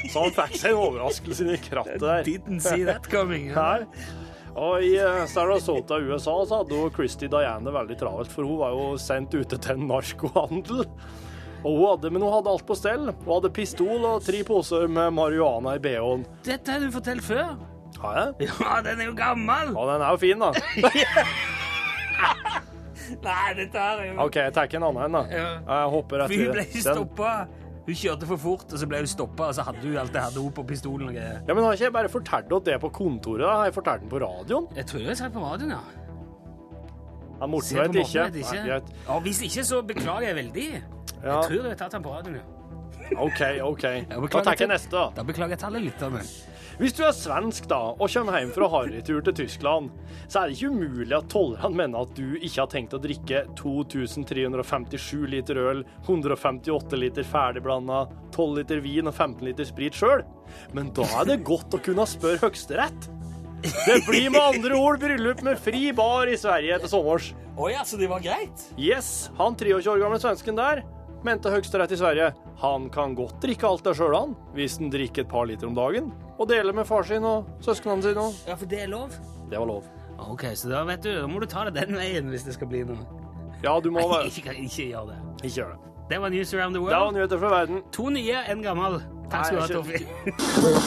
[SPEAKER 11] Så han fikk seg en overraskelse i krattet der.
[SPEAKER 6] Didn't see that coming.
[SPEAKER 11] Her. Og i eh, Sarasota, USA, så hadde jo Christy Diane veldig travelt, for hun var jo sendt ute til en narkohandel. Og hun hadde, men hun hadde alt på stell. Hun hadde pistol og tre poser med marihuana i bh-en.
[SPEAKER 6] Dette har du fortalt før.
[SPEAKER 11] Har jeg?
[SPEAKER 6] Ja, den er jo gammel!
[SPEAKER 11] Ja, den er jo fin, da.
[SPEAKER 6] *laughs* Nei, dette her er jo
[SPEAKER 11] OK, jeg tar en annen en, da.
[SPEAKER 6] Ja.
[SPEAKER 11] Jeg hopper
[SPEAKER 6] For hun
[SPEAKER 11] etter.
[SPEAKER 6] ble stoppa. Hun kjørte for fort, og så ble hun stoppa, og så hadde hun alt det hadde hun på pistolen og greier.
[SPEAKER 11] Ja, men har ikke jeg bare fortalt dere det på kontoret? da? Har jeg fortalt den på radioen?
[SPEAKER 6] Jeg tror jeg har sagt på radioen, ja.
[SPEAKER 11] Ja, Morten
[SPEAKER 6] Se på
[SPEAKER 11] vet
[SPEAKER 6] Morten,
[SPEAKER 11] ikke.
[SPEAKER 6] vet ikke.
[SPEAKER 11] Nei, greit.
[SPEAKER 6] ja. Hvis ikke, så beklager jeg veldig.
[SPEAKER 11] Ja,
[SPEAKER 6] Jeg tror jeg har tatt den på radioen, ja.
[SPEAKER 11] OK, OK. Da
[SPEAKER 6] beklager
[SPEAKER 11] tar
[SPEAKER 6] til-
[SPEAKER 11] jeg neste, da.
[SPEAKER 6] Da beklager jeg tallet litt. Da, men.
[SPEAKER 11] Hvis du er svensk da, og kommer hjem fra harrytur til Tyskland, så er det ikke umulig at tollerne mener at du ikke har tenkt å drikke 2357 liter øl, 158 liter ferdigblanda, 12 liter vin og 15 liter sprit sjøl. Men da er det godt å kunne spørre Høyesterett. Det blir med andre ord bryllup med fri bar i Sverige til sommers.
[SPEAKER 6] Å ja, så det var greit?
[SPEAKER 11] Yes, han 23 år gamle svensken der mente Høyesterett i Sverige. Han kan godt drikke alt det sjøl, han, hvis han drikker et par liter om dagen. Og deler med far sin og søsknene sine. og-
[SPEAKER 6] Ja, for det er lov?
[SPEAKER 11] Det var lov.
[SPEAKER 6] OK, så da vet du, da må du ta det den veien hvis det skal bli noe.
[SPEAKER 11] Ja, du må
[SPEAKER 6] Nei,
[SPEAKER 11] være
[SPEAKER 6] ikke, ikke gjør det.
[SPEAKER 11] Ikke gjør det.
[SPEAKER 6] Det var News Around the
[SPEAKER 11] Det var
[SPEAKER 6] World.
[SPEAKER 11] nyheter fra verden.
[SPEAKER 6] To nye, en gammel. Takk skal du
[SPEAKER 11] Nei,
[SPEAKER 6] ha,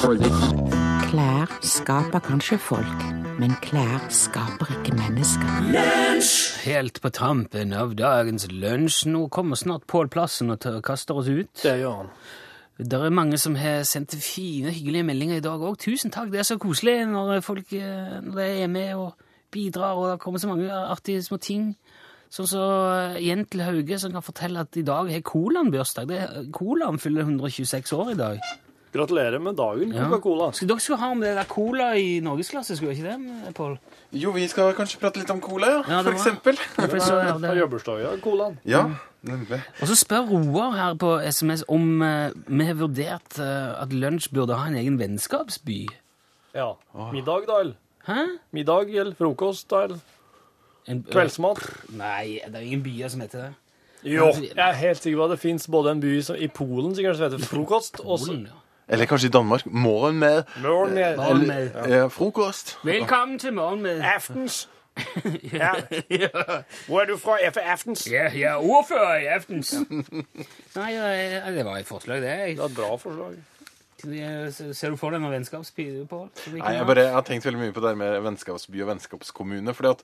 [SPEAKER 6] Torfinn.
[SPEAKER 3] Klær skaper kanskje folk, men klær skaper ikke mennesker.
[SPEAKER 6] Helt på tampen av dagens lunsj. Nå kommer snart Pål Plassen og tør- kaster oss ut.
[SPEAKER 11] Det gjør han.
[SPEAKER 6] Det er mange som har sendt fine, hyggelige meldinger i dag òg. Tusen takk, det er så koselig når folk eh, når de er med og bidrar, og det kommer så mange artige små ting. Sånn som så Jentel Hauge, som kan fortelle at i dag har Colaen bursdag. Det- Colaen fyller 126 år i dag.
[SPEAKER 11] Gratulerer med dagen,
[SPEAKER 6] Ja.
[SPEAKER 11] Coca-Cola.
[SPEAKER 6] Så dere skulle ha om det der Cola i norgesklasse, skulle dere ikke det, Pål?
[SPEAKER 12] Jo, vi skal kanskje prate litt om cola, ja.
[SPEAKER 6] Ja, det var-
[SPEAKER 12] for eksempel.
[SPEAKER 6] For så- ja, det-
[SPEAKER 11] Har jobbursdag i dag, Colaen.
[SPEAKER 12] *laughs* Ja, nemlig.
[SPEAKER 6] Og så spør Roar her på SMS om eh, vi har vurdert eh, at lunsj burde ha en egen vennskapsby.
[SPEAKER 11] Ja. Middag, da, eller?
[SPEAKER 6] Hæ?
[SPEAKER 11] Middag eller frokost, da, eller?
[SPEAKER 6] En,
[SPEAKER 11] Kveldsmat?
[SPEAKER 6] Nei, det er ingen byer som heter det.
[SPEAKER 11] Jo. Jeg er helt sikker på at det fins både en by som, i Polen som kanskje heter frokost, og så
[SPEAKER 6] Polen, ja.
[SPEAKER 12] Eller kanskje i Danmark. Morgenmad.
[SPEAKER 6] Morgenmad.
[SPEAKER 12] Eh, eller-
[SPEAKER 6] Morgenmad.
[SPEAKER 12] Ja, frokost.
[SPEAKER 6] Velkommen til morgenmad.
[SPEAKER 11] *laughs*
[SPEAKER 13] Aftens. Ja. Hvor er du fra? Jeg er fra Aftens.
[SPEAKER 14] Ja, jeg er ordfører i aftens.
[SPEAKER 6] *laughs*
[SPEAKER 14] Nei, eh, det var et forslag, det. Det
[SPEAKER 15] var et bra forslag.
[SPEAKER 14] Ser du for deg noe vennskapspide på?
[SPEAKER 12] Nei, jeg, bare, jeg har tenkt veldig mye på det her med vennskapsby og vennskapskommune. fordi at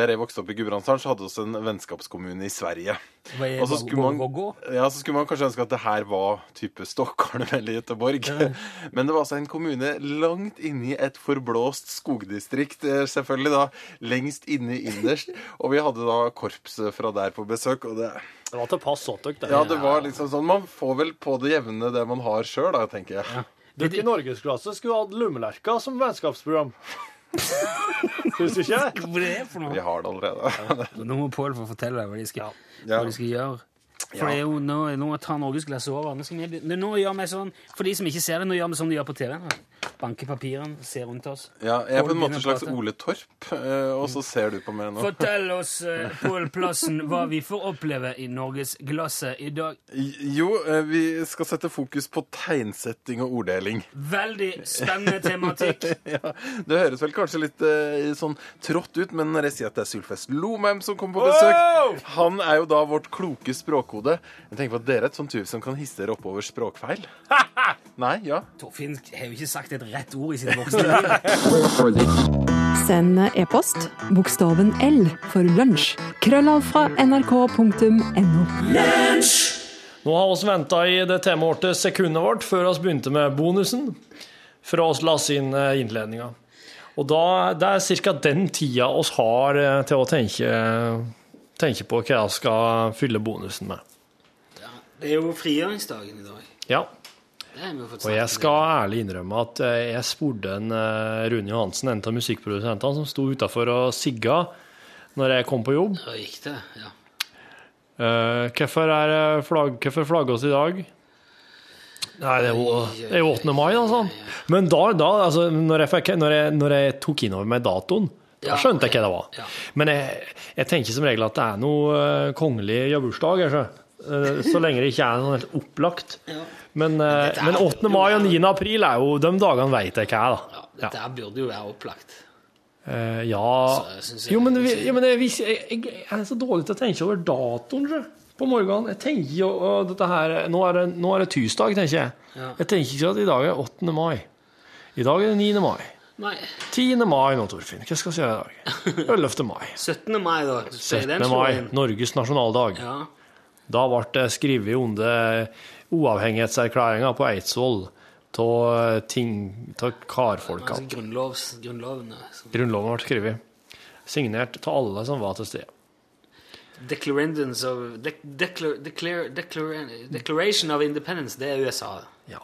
[SPEAKER 12] der jeg vokste opp i Gudbrandsdalen, så hadde vi en vennskapskommune i Sverige.
[SPEAKER 14] Hva-
[SPEAKER 12] Og så
[SPEAKER 14] hva-
[SPEAKER 12] skulle,
[SPEAKER 14] hva-
[SPEAKER 12] man,
[SPEAKER 14] hva-
[SPEAKER 12] ja, så skulle man kanskje ønske at det her var type Stockholm eller Göteborg. *laughs* Men det var altså en kommune langt inni et forblåst skogdistrikt, eh, selvfølgelig da, lengst inne innerst. Og vi hadde da korps fra der på besøk, og det
[SPEAKER 15] Det var til pass åttøk, det.
[SPEAKER 12] Ja, det var liksom sånn Man får vel på det jevne det man har sjøl, da, tenker jeg.
[SPEAKER 15] Dere i norgesklasse skulle hatt Lummelerka som
[SPEAKER 11] *laughs*
[SPEAKER 15] vennskapsprogram. Syns du ikke?
[SPEAKER 14] Hva er det for noe?
[SPEAKER 12] Vi har det *laughs* allerede.
[SPEAKER 14] Nå må Pål få fortelle deg hva de skal,
[SPEAKER 12] Ja.
[SPEAKER 14] Hva de skal gjøre. For
[SPEAKER 12] Ja.
[SPEAKER 14] det er jo, nå, nå tar norgesglasset over. Nå, skal vi, begynne- nå gjør vi sånn, For de som ikke ser det, nå gjør vi sånn de gjør på TV. Banker papirene, ser rundt oss.
[SPEAKER 12] Ja, jeg er på en
[SPEAKER 14] Pål
[SPEAKER 12] måte en
[SPEAKER 14] begynner å
[SPEAKER 12] slags
[SPEAKER 14] prate.
[SPEAKER 12] Ole Torp, eh, og så ser du på meg nå.
[SPEAKER 14] Fortell oss, eh, Pål Plassen, hva vi får oppleve i norgesglasset i dag.
[SPEAKER 12] Jo, eh, vi skal sette fokus på tegnsetting og orddeling.
[SPEAKER 14] Veldig spennende tematikk.
[SPEAKER 12] *laughs* ja, det høres vel kanskje litt eh, sånn trått ut, men når jeg sier at det er Sylfest Lomheim som kommer på besøk Han er jo da vårt kloke språkhode. Jeg tenker på at dere er et sånt tyv som kan hisse dere opp over språkfeil. Nei, ja.
[SPEAKER 14] Torfinn har jo ikke sagt et rett ord i sitt voksne liv.
[SPEAKER 9] Send e-post bokstaven L for lunsj. Krøllav fra nrk.no.
[SPEAKER 11] Nå har vi venta i det temaårte sekundet vårt før vi begynte med bonusen. Fra oss la inn eh, innledninga. Og da, det er ca. den tida oss har eh, til å tenke, tenke på hva vi skal fylle bonusen med.
[SPEAKER 6] Det er jo frigjøringsdagen i dag.
[SPEAKER 11] Ja.
[SPEAKER 6] Det har vi jo fått
[SPEAKER 11] Og jeg
[SPEAKER 6] snakket
[SPEAKER 11] skal ærlig innrømme at eh, jeg spurte en eh, Rune Johansen, en av musikkprodusentene, som sto utafor og sigga når jeg kom på jobb.
[SPEAKER 6] om. Da gikk det, ja.
[SPEAKER 11] Eh, hvorfor er det flagg, hvorfor flagger oss i dag? Nei, det er jo, det er jo 8. mai, altså. Men da, da altså, når, jeg fikk, når, jeg, når jeg tok innover meg datoen, da
[SPEAKER 6] Ja,
[SPEAKER 11] skjønte jeg hva det var. Men jeg, jeg tenker som regel at det er noe eh, kongelig jobbursdag, kanskje. Eh, Så lenge det ikke er noe helt opplagt. Men, eh, men 8. mai og 9. april er jo de dagene veit jeg hva er, da.
[SPEAKER 6] Dette her burde jo være opplagt.
[SPEAKER 11] Eh, ja
[SPEAKER 6] jeg synes jeg-
[SPEAKER 11] Jo, men, vi- jo, men jeg, vis- jeg, jeg, jeg er så dårlig til å tenke over datoen sjø. på morgenen. Jeg tenker jo å, dette her, nå, er det, nå er det tirsdag, tenker jeg.
[SPEAKER 6] Ja.
[SPEAKER 11] Jeg tenker ikke at i dag er 8. mai. I dag er det 9. mai.
[SPEAKER 6] Nei,
[SPEAKER 11] 10. mai nå, Torfinn. Hva skal vi gjøre i
[SPEAKER 6] *laughs*
[SPEAKER 11] dag? 11. mai.
[SPEAKER 6] 17. mai, da. så er
[SPEAKER 11] 17.
[SPEAKER 6] den
[SPEAKER 11] mai,
[SPEAKER 6] slått inn.
[SPEAKER 11] Norges nasjonaldag.
[SPEAKER 6] Ja.
[SPEAKER 11] Da ble det skrevet under uavhengighetserklæringa på Eidsvoll av eh, ting av karfolka.
[SPEAKER 6] Altså grunnlovs, grunnlovene.
[SPEAKER 11] Grunnloven ble skrevet. Signert av alle som var til stede.
[SPEAKER 6] Declarendons of dec- declar, declare, declare, Declaration of Independence, det er USA.
[SPEAKER 11] Ja.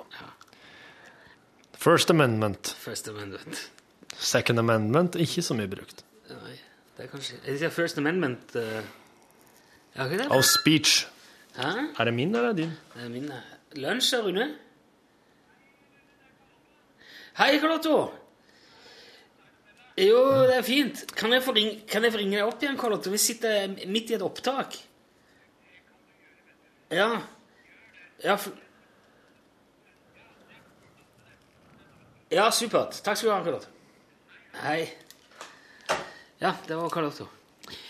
[SPEAKER 11] First Amendment.
[SPEAKER 6] First Amendment.
[SPEAKER 11] Second Amendment, ikke så mye brukt.
[SPEAKER 6] Nei, det er kanskje Er det ikke First Amendment eh, Ja, hva er
[SPEAKER 11] Og
[SPEAKER 6] det?
[SPEAKER 11] speech.
[SPEAKER 6] Hæ?
[SPEAKER 11] Er det min eller er det din?
[SPEAKER 6] Det er min eh, lunsj, eh, Rune. Hei, Carlotto. Jo, det er fint. Kan jeg få ring- kan jeg få ringe deg opp igjen, Carlotto? Vi sitter eh, midt i et opptak. Ja. Ja, f- ja supert. Takk skal du ha, Carlotto. Hei. Ja, det var Carlotto.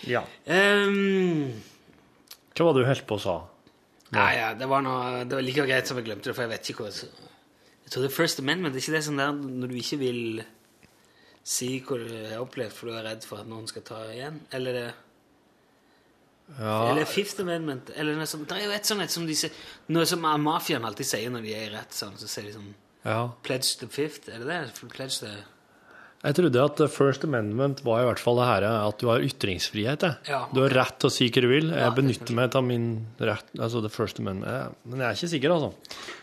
[SPEAKER 11] Ja.
[SPEAKER 6] Ehm,
[SPEAKER 11] Hva var det du holdt på å sa?
[SPEAKER 6] Nei, ja, det var noe Det var like greit som jeg glemte det, for jeg vet ikke hva Jeg tror det er First Amendment. Det er ikke det sånn der når du ikke vil si hva du har opplevd, for du er redd for at noen skal ta igjen? Eller det Eller Fifth Amendment. Eller noe sånt. Det er jo et sånt et som de sier Noe som mafiaen alltid sier når de er i rettssalen. Så sier de sånn
[SPEAKER 11] Ja.
[SPEAKER 6] Pledge the fifth. Er det det? Pledge the
[SPEAKER 11] Jeg trodde at First Amendment var i hvert fall det her at du har ytringsfrihet. jeg.
[SPEAKER 6] Ja.
[SPEAKER 11] Du har rett til å si hva du vil.
[SPEAKER 6] Ja,
[SPEAKER 11] Jeg
[SPEAKER 6] det
[SPEAKER 11] benytter meg av min rett. Altså the First Amendment. Eh, Men jeg er ikke sikker, altså.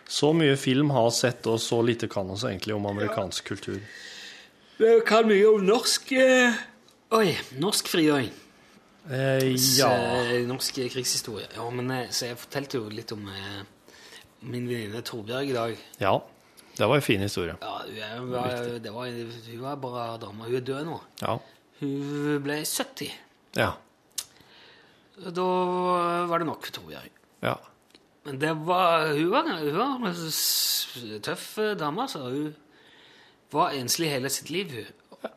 [SPEAKER 11] Så mye film har jeg sett, og så lite kan oss egentlig om amerikansk kultur.
[SPEAKER 6] Det kan mye om norsk eh, Oi. Norsk frigjøring.
[SPEAKER 11] Eh,
[SPEAKER 6] Så,
[SPEAKER 11] ja.
[SPEAKER 6] eh, Norsk krigshistorie. Ja, men eh, så jeg fortalte jo litt om eh, min venninne Torbjørg i dag.
[SPEAKER 11] ja. Det var en fin historie.
[SPEAKER 6] Ja, hun, er, hun, var, det var, hun var bra dame. Hun er død nå.
[SPEAKER 11] Ja.
[SPEAKER 6] Hun ble 70.
[SPEAKER 11] Ja.
[SPEAKER 6] Da var det nok for Torbjørg.
[SPEAKER 11] ja.
[SPEAKER 6] Men det var, hun var, hun var en s- tøff dame, altså. Hun var enslig hele sitt liv, hun.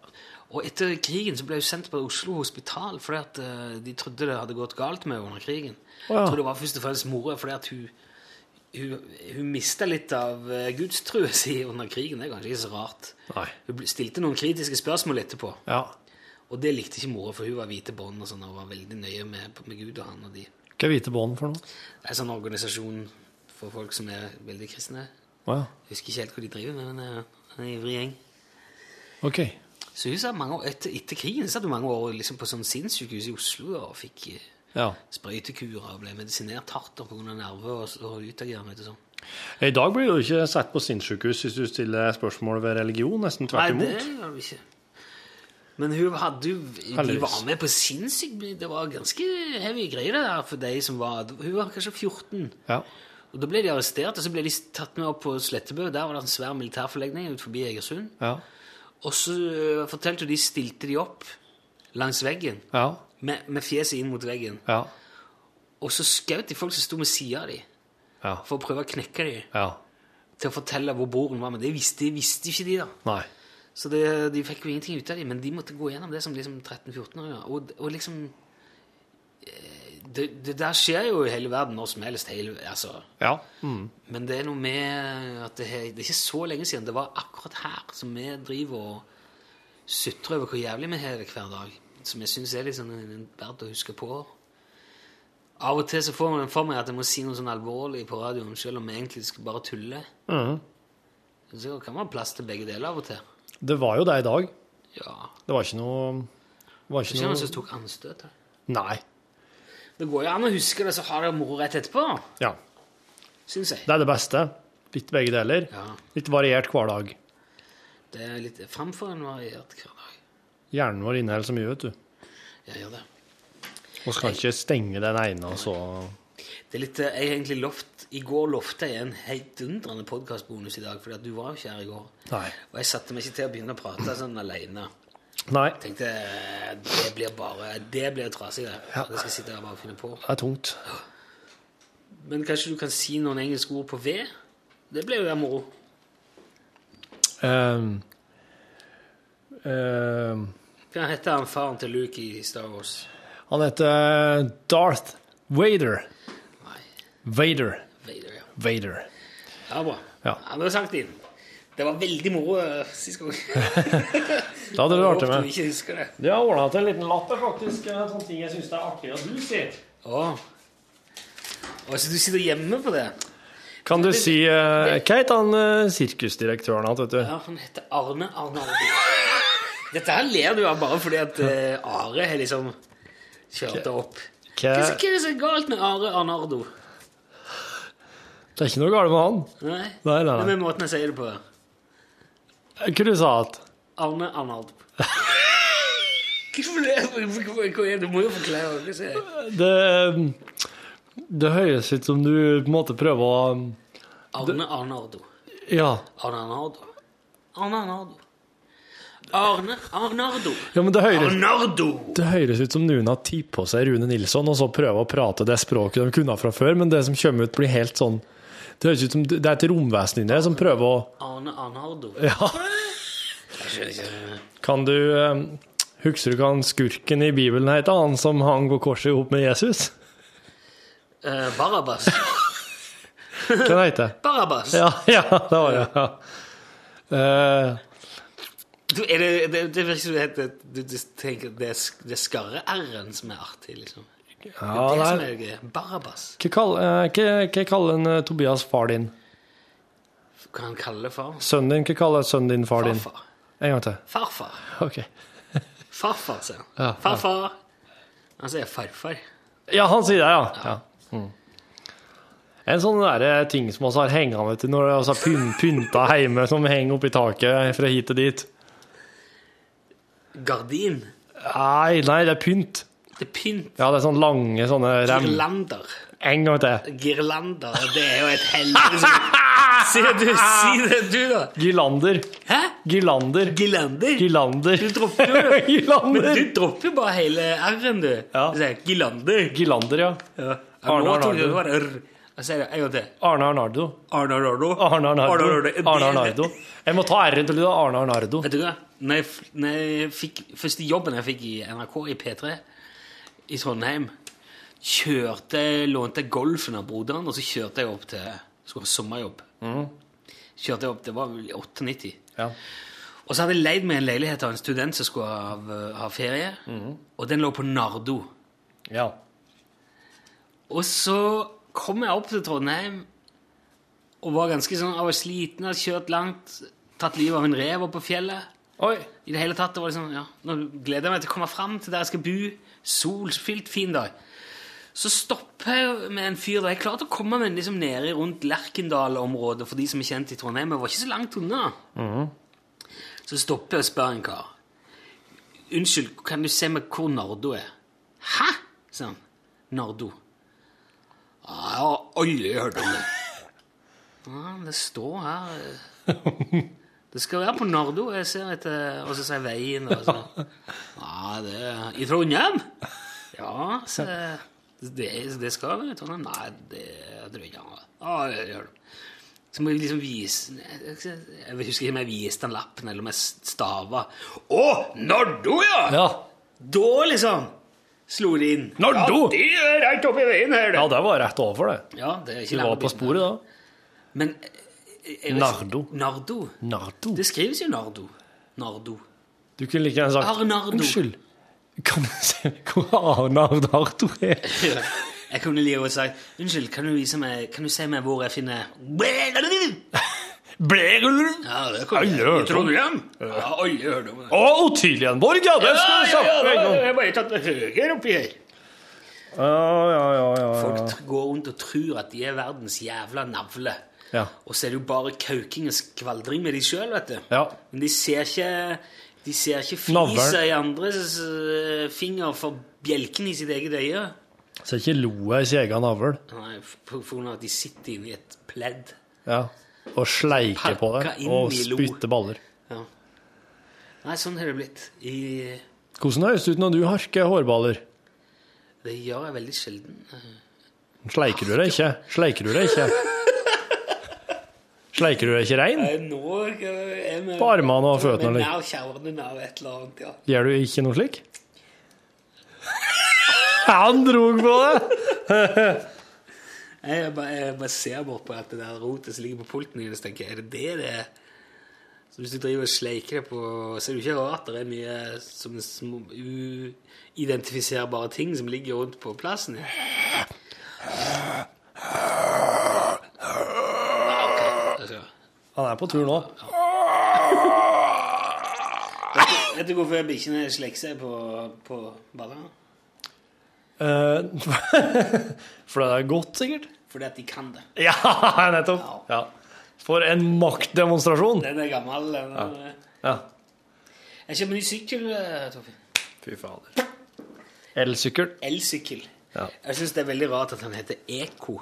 [SPEAKER 6] Og etter krigen så ble hun sendt på Oslo Hospital fordi at eh, de trodde det hadde gått galt med henne under krigen.
[SPEAKER 16] Å, ja.
[SPEAKER 6] Jeg tror det var først og fremst mora fordi at hun, hun, hun mista litt av eh, gudstrua si under krigen. Det er kanskje ikke så rart.
[SPEAKER 11] Nei.
[SPEAKER 6] Hun ble- stilte noen kritiske spørsmål etterpå.
[SPEAKER 11] Ja.
[SPEAKER 6] Og det likte ikke mora, for hun var hvite bånd og sånn, og var veldig nøye med, med Gud og han og de.
[SPEAKER 11] Hva er hvite bånd for noe?
[SPEAKER 6] Det er en sånn organisasjon for folk som er veldig kristne.
[SPEAKER 11] Å ja.
[SPEAKER 6] Jeg husker ikke helt hva de driver med, men eh, det er en ivrig gjeng.
[SPEAKER 11] Ok.
[SPEAKER 6] Så hun satt mange år, etter, etter krigen satt hun mange år liksom på sånn sinnssykehus i Oslo da, og fikk eh,
[SPEAKER 11] Ja.
[SPEAKER 6] sprøytekurer og ble medisinert hardt da, på grunn av nerver og, og utagerenhet og sånn.
[SPEAKER 11] I dag blir du ikke satt på sinnssykehus hvis du stiller spørsmål ved religion. Nesten tvert
[SPEAKER 6] Nei,
[SPEAKER 11] imot.
[SPEAKER 6] det gjør hun ikke. Men hun hadde jo De
[SPEAKER 11] Heldigvis.
[SPEAKER 6] var med på sinnssykt mye. Det var ganske heavy greier det der for de som var Hun var kanskje 14.
[SPEAKER 11] Ja.
[SPEAKER 6] Og Da ble de arrestert, og så ble de tatt med opp på Slettebø. Der var det en svær militærforlegning ut forbi Egersund.
[SPEAKER 11] Ja.
[SPEAKER 6] Og så øh, fortalte hun de stilte de opp langs veggen,
[SPEAKER 11] Ja.
[SPEAKER 6] med, med fjeset inn mot veggen.
[SPEAKER 11] Ja.
[SPEAKER 6] Og så skjøt de folk som sto ved sida av dem,
[SPEAKER 11] Ja.
[SPEAKER 6] for å prøve å knekke dem.
[SPEAKER 11] ja.
[SPEAKER 6] Til å fortelle hvor broren var. Men det visste, visste ikke de, da.
[SPEAKER 11] Nei.
[SPEAKER 6] Så det, de fikk jo ingenting ut av dem, men de måtte gå gjennom det som liksom 13-14-åringer. Og, og liksom eh, det, det der skjer jo i hele verden når som helst. Hele, altså.
[SPEAKER 11] Ja. Mm.
[SPEAKER 6] Men det er noe med at det, er- det er ikke så lenge siden det var akkurat her som vi driver og sutrer over hvor jævlig vi har det hver dag. Som jeg syns er litt sånn en- en verdt å huske på. Av og til så får man for meg at jeg må si noe sånn alvorlig på radioen, selv om jeg egentlig skal bare tulle.
[SPEAKER 11] Mhm.
[SPEAKER 6] Så kan man ha plass til begge deler av og til.
[SPEAKER 11] Det var jo det i dag.
[SPEAKER 6] Ja.
[SPEAKER 11] Det var ikke noe det
[SPEAKER 6] Det
[SPEAKER 11] var
[SPEAKER 6] er
[SPEAKER 11] ikke
[SPEAKER 6] ikke noen som
[SPEAKER 11] noe...
[SPEAKER 6] tok anstøt. her.
[SPEAKER 11] Nei.
[SPEAKER 6] Det går jo an å huske det, så har det moro rett etterpå,
[SPEAKER 11] Ja.
[SPEAKER 6] syns jeg.
[SPEAKER 11] Det er det beste. Litt begge deler. Litt variert hver dag.
[SPEAKER 6] Det er litt framfor en variert hverdag.
[SPEAKER 11] Hjernen vår inneholder så mye, vet du.
[SPEAKER 6] Jeg gjør det.
[SPEAKER 11] Vi kan ikke stenge den ene, og så
[SPEAKER 6] Det er litt, eh, jeg har egentlig lovt, I går lovte jeg en heidundrende podkastbonus i dag, fordi at du var jo ikke her i går.
[SPEAKER 11] Nei.
[SPEAKER 6] Og jeg satte meg ikke til å begynne å prate sånn alene.
[SPEAKER 11] Nei.
[SPEAKER 6] Jeg tenkte eh, det blir bare Det blir trasig, det.
[SPEAKER 11] Ja.
[SPEAKER 6] Det skal jeg sitte her og bare finne på.
[SPEAKER 11] Det er tungt.
[SPEAKER 6] Men kanskje du kan si noen engelske ord på V? Det ble jo da moro.
[SPEAKER 11] Ehm. Ehm.
[SPEAKER 6] Hva heter han faren til Luke i Star Wars?
[SPEAKER 11] han heter Darth Vader. Vader.
[SPEAKER 6] Vader, ja.
[SPEAKER 11] Vader.
[SPEAKER 6] Ja, bra.
[SPEAKER 11] Ja.
[SPEAKER 6] Ja, men det er sagt inn. Det var veldig moro eh, sist gang.
[SPEAKER 11] *laughs* Da hadde
[SPEAKER 6] Jeg
[SPEAKER 11] du vært
[SPEAKER 6] håper du
[SPEAKER 11] med.
[SPEAKER 6] ikke husker det.
[SPEAKER 11] De har ordna til en liten latter, faktisk. En sånn ting jeg syns det er artig at du sier.
[SPEAKER 6] Å. Å, så du sitter hjemme på det?
[SPEAKER 11] Kan du si eh, Hva het han eh, sirkusdirektøren igjen, vet du?
[SPEAKER 6] Ja, han heter Arne
[SPEAKER 11] *laughs*
[SPEAKER 6] Arnaldi. Dette her ler du av bare fordi at eh, Are har liksom kjørt det opp. Hva er det hva
[SPEAKER 11] Hva
[SPEAKER 6] er det som er galt med Are Arnardo?
[SPEAKER 11] Det er ikke noe galt med han.
[SPEAKER 6] Nei?
[SPEAKER 11] Nei,
[SPEAKER 6] Det
[SPEAKER 11] nei,
[SPEAKER 6] er
[SPEAKER 11] nei.
[SPEAKER 6] med måten jeg sier det på.
[SPEAKER 11] Hva du sa at?
[SPEAKER 6] Arne
[SPEAKER 11] *laughs*
[SPEAKER 6] Arnaldo. Hvorfor ler du? Hva hva er det? Du må jo forklare hva jeg sier.
[SPEAKER 11] Det, eh, det høres ut som du på en måte prøver å
[SPEAKER 6] Arne Arnardo.
[SPEAKER 11] Ja.
[SPEAKER 6] Arne Arnardo. Arne Arnardo. Arne Arnardo.
[SPEAKER 11] Ja, men det høres,
[SPEAKER 6] Arnardo!
[SPEAKER 11] det høres ut som noen har tatt på seg Rune Nilsson og så prøver å prate det språket de kunne fra før, men det som kommer ut, blir helt sånn Det høres ut som det er et romvesen inni deg som prøver å
[SPEAKER 6] Arne Arnardo.
[SPEAKER 11] Ja.
[SPEAKER 6] Jeg skjønner ikke.
[SPEAKER 11] Kan du eh, Husker du hva han skurken i Bibelen het, han som hang på korset ihop med Jesus?
[SPEAKER 6] Eh, Barabbas.
[SPEAKER 11] Hva het det?
[SPEAKER 6] Barabbas.
[SPEAKER 11] Ja, ja, det var det. Ja. Eh,
[SPEAKER 6] Du, er det, det, det virker som det heter du, du tenker at det er, sk- det er skarre-r-en som er artig, liksom.
[SPEAKER 11] Ja,
[SPEAKER 6] det er det som
[SPEAKER 11] nei.
[SPEAKER 6] er gøy. Barabbas.
[SPEAKER 11] hva kall- eh, hva- hva kaller en, eh, Tobias far din?
[SPEAKER 6] Hva han kaller far?
[SPEAKER 11] Sønnen din? Hva kaller sønnen din far din?
[SPEAKER 6] Farfar.
[SPEAKER 11] En gang til. *laughs*
[SPEAKER 6] Farfar.
[SPEAKER 11] Ok.
[SPEAKER 6] Farfar, sier han.
[SPEAKER 11] Ja, ja.
[SPEAKER 6] Farfar. Han sier farfar.
[SPEAKER 11] Ja, han sier det, ja. ja. Mm. En sånn der ting som vi har hengende til når vi har pyn- pynta hjemme, som henger oppi taket fra hit til dit.
[SPEAKER 6] Gardin.
[SPEAKER 11] Nei, nei, det er pynt.
[SPEAKER 6] Det er pynt.
[SPEAKER 11] Ja, det er sånn lange sånne rem.
[SPEAKER 6] Girlander.
[SPEAKER 11] En gang til.
[SPEAKER 6] Girlander. Det er jo et helvete.
[SPEAKER 11] *laughs*
[SPEAKER 6] Si det, du, si det, du, da.
[SPEAKER 11] Girlander.
[SPEAKER 6] Hæ?
[SPEAKER 11] Girlander.
[SPEAKER 6] Girlander?
[SPEAKER 11] Girlander.
[SPEAKER 6] Du dropper jo
[SPEAKER 11] *laughs*
[SPEAKER 6] det.
[SPEAKER 11] Girlander.
[SPEAKER 6] Men du dropper jo bare hele r-en, du. Ja. Gilander.
[SPEAKER 11] Girlander, ja.
[SPEAKER 6] Ja.
[SPEAKER 11] Arne
[SPEAKER 6] Nå tok
[SPEAKER 11] Arnardo.
[SPEAKER 6] du bare r. Jeg sier det en gang til.
[SPEAKER 11] Arne Arnardo.
[SPEAKER 6] Arne Arnardo.
[SPEAKER 11] Arne Arnardo.
[SPEAKER 6] Arne Arnardo.
[SPEAKER 11] Arne Arnardo. Jeg må ta R-en til lyden. Arne Arnardo.
[SPEAKER 6] Vet du hva? Når jeg, f- når jeg fikk, første jobben jeg fikk i NRK, i P3, i Trondheim, kjørte, lånte jeg golfen av broderen, og så kjørte jeg opp til skulle ha sommerjobb. Kjørte jeg opp, Det var vel i 98. Og så hadde jeg leid meg en leilighet av en student som skulle ha, ha ferie, og den lå på Nardo.
[SPEAKER 11] Ja.
[SPEAKER 6] Og så kom jeg opp til Trondheim og var ganske sånn Jeg var sliten, hadde kjørt langt, tatt livet av en rev oppe på fjellet. I det hele tatt, det var liksom, ja, Nå gleder jeg meg til å komme fram til der jeg skal bo. Solfylt, fin dag. Så stopper jeg med en fyr der. Jeg klarte å komme meg liksom nede rundt Lerkendal-området for de som er kjent i Trondheim. Jeg var ikke så langt unna. Så stopper jeg og spør en kar. Unnskyld, kan du se meg hvor Nardo er? Hæ? sa han. Nardo. «Ja, Jeg har aldri hørt om det. Ja, det står her eh, Det skal være på Nardo. Jeg ser etter Og så sier jeg veien. Og så. Ja, det er I Trondheim? Ja, så eh, det, det skal være i Trondheim. Nei, det jeg tror jeg ikke han har. Ja, jeg gjør det. Så må jeg liksom vise Jeg husker ikke om jeg viste den lappen, eller om jeg stava. Å, Nardo, ja! Da, liksom, slo det inn.
[SPEAKER 11] Nardo!
[SPEAKER 6] Ja, det er rett oppi veien her, det.
[SPEAKER 11] Ja, det var rett overfor det.
[SPEAKER 6] Ja, det er ikke
[SPEAKER 11] Du var
[SPEAKER 6] langt
[SPEAKER 11] på
[SPEAKER 6] unna.
[SPEAKER 11] sporet da.
[SPEAKER 6] Men eh, jeg vet-
[SPEAKER 11] Nardo.
[SPEAKER 6] Nardo.
[SPEAKER 11] Nardo.
[SPEAKER 6] Det skrives jo Nardo. Nardo. *laughs*
[SPEAKER 11] Du kunne like gjerne sagt
[SPEAKER 6] Arnardo.
[SPEAKER 11] Unnskyld. Kan du se hvor Arnardo er?
[SPEAKER 6] Jeg kunne like godt sagt Unnskyld, kan du, vise meg, kan du si meg hvor jeg finner
[SPEAKER 11] Blerulv?
[SPEAKER 6] Ja, det kan
[SPEAKER 11] Alle hørt om.
[SPEAKER 6] jeg. I Trondheim? Ja, alle hørte om det.
[SPEAKER 11] Å, Ottilienborg, ja! Det skulle du sagt
[SPEAKER 6] ja,
[SPEAKER 11] med en gang.
[SPEAKER 6] ja, jeg bare tatt det høyere oppi her.
[SPEAKER 11] Ja, ja, ja, ja, ja.
[SPEAKER 6] Folk tr- går rundt og tror at de er verdens jævla navle.
[SPEAKER 11] Ja.
[SPEAKER 6] Og så er det jo bare kauking og skvaldring med de sjøl, vet du.
[SPEAKER 11] Ja.
[SPEAKER 6] Men de ser ikke De ser ikke
[SPEAKER 11] Navlen.
[SPEAKER 6] flisa i andres eh, finger for bjelken i sitt eget øye.
[SPEAKER 11] Så ikke lo jeg i sin egen avl.
[SPEAKER 6] Nei, f- på grunn av at de sitter inne i et pledd.
[SPEAKER 11] Ja. Og sleike på
[SPEAKER 6] Pakka
[SPEAKER 11] det.
[SPEAKER 6] inn
[SPEAKER 11] Og
[SPEAKER 6] i lo.
[SPEAKER 11] spytte baller.
[SPEAKER 6] Ja. Nei, sånn har det blitt. I,
[SPEAKER 11] Hvordan høres det ut når du harker hårballer?
[SPEAKER 6] det gjør jeg veldig sjelden. Eh,
[SPEAKER 11] Sleiker du deg ikke? Sleiker du deg ikke? Sleiker du deg ikke rein?
[SPEAKER 6] Nei, nå eh, er vi
[SPEAKER 11] På armene og
[SPEAKER 6] eller?
[SPEAKER 11] føttene, eller?
[SPEAKER 6] Nær kjernen av et eller annet, ja.
[SPEAKER 11] Gjør du ikke noe slik? Han dro på det!
[SPEAKER 6] Jeg bare, jeg bare ser bort på at det der rotet som ligger på pulten din, og så tenker jeg, er det det det er? Så hvis du driver og sleiker det på Så er det jo ikke rart det er mye som små, uidentifiserbare ting som ligger rundt på plassen. Ja. Ah, ok. Altså,
[SPEAKER 11] Han er på tur nå.
[SPEAKER 6] Vet du- Vet du hvorfor bikkjene slekker seg på, på ballene?
[SPEAKER 11] Eh, *laughs* For det er godt, sikkert.
[SPEAKER 6] Fordi at de kan det.
[SPEAKER 11] Ja, nettopp. Ja. For en maktdemonstrasjon.
[SPEAKER 6] Den er gammel. Den,
[SPEAKER 11] Ja. Ja.
[SPEAKER 6] Jeg kjøper ny sykkel, eh, Torfinn.
[SPEAKER 11] Fy fader. Elsykkel.
[SPEAKER 6] Elsykkel.
[SPEAKER 11] Ja.
[SPEAKER 6] Jeg syns det er veldig rart at han heter Eko.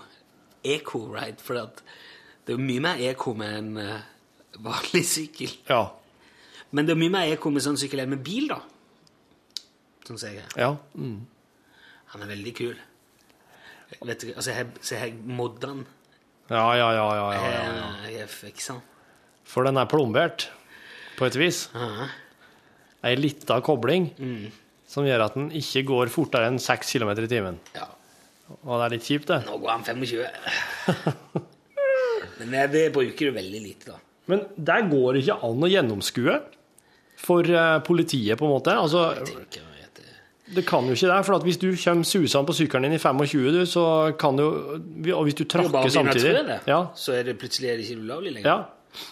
[SPEAKER 6] Eko, right? For at det er jo mye mer eko med en eh, vanlig sykkel.
[SPEAKER 11] Ja.
[SPEAKER 6] Men det er mye mer eko med sånn sykkel enn med bil, da. Sånn ser jeg.
[SPEAKER 11] Ja. Mm.
[SPEAKER 6] Han er veldig kul. Vet du, altså, jeg, så jeg modder han.
[SPEAKER 11] Ja, ja, ja, ja, ja,
[SPEAKER 6] Eh,
[SPEAKER 11] ja, ja.
[SPEAKER 6] Jeg, jeg fikser han.
[SPEAKER 11] For den er plombert, på et vis. Ei lita kobling som gjør at den ikke går fortere enn 6 km i timen. Og det er litt kjipt, det.
[SPEAKER 6] Nå går han 25.
[SPEAKER 11] *laughs*
[SPEAKER 6] Men jeg, det bruker du veldig lite, da.
[SPEAKER 11] Men der går det ikke an å gjennomskue for eh, politiet, på en måte. Altså, det kan jo ikke det, for at hvis du kommer susende på sykkelen din i 25, du, så kan du Og hvis du
[SPEAKER 6] Det er jo bare å
[SPEAKER 11] trakker
[SPEAKER 6] begynne å
[SPEAKER 11] samtidig
[SPEAKER 6] tro det,
[SPEAKER 11] ja,
[SPEAKER 6] Så er det plutselig er det ikke ulovlig lenger.
[SPEAKER 11] ja.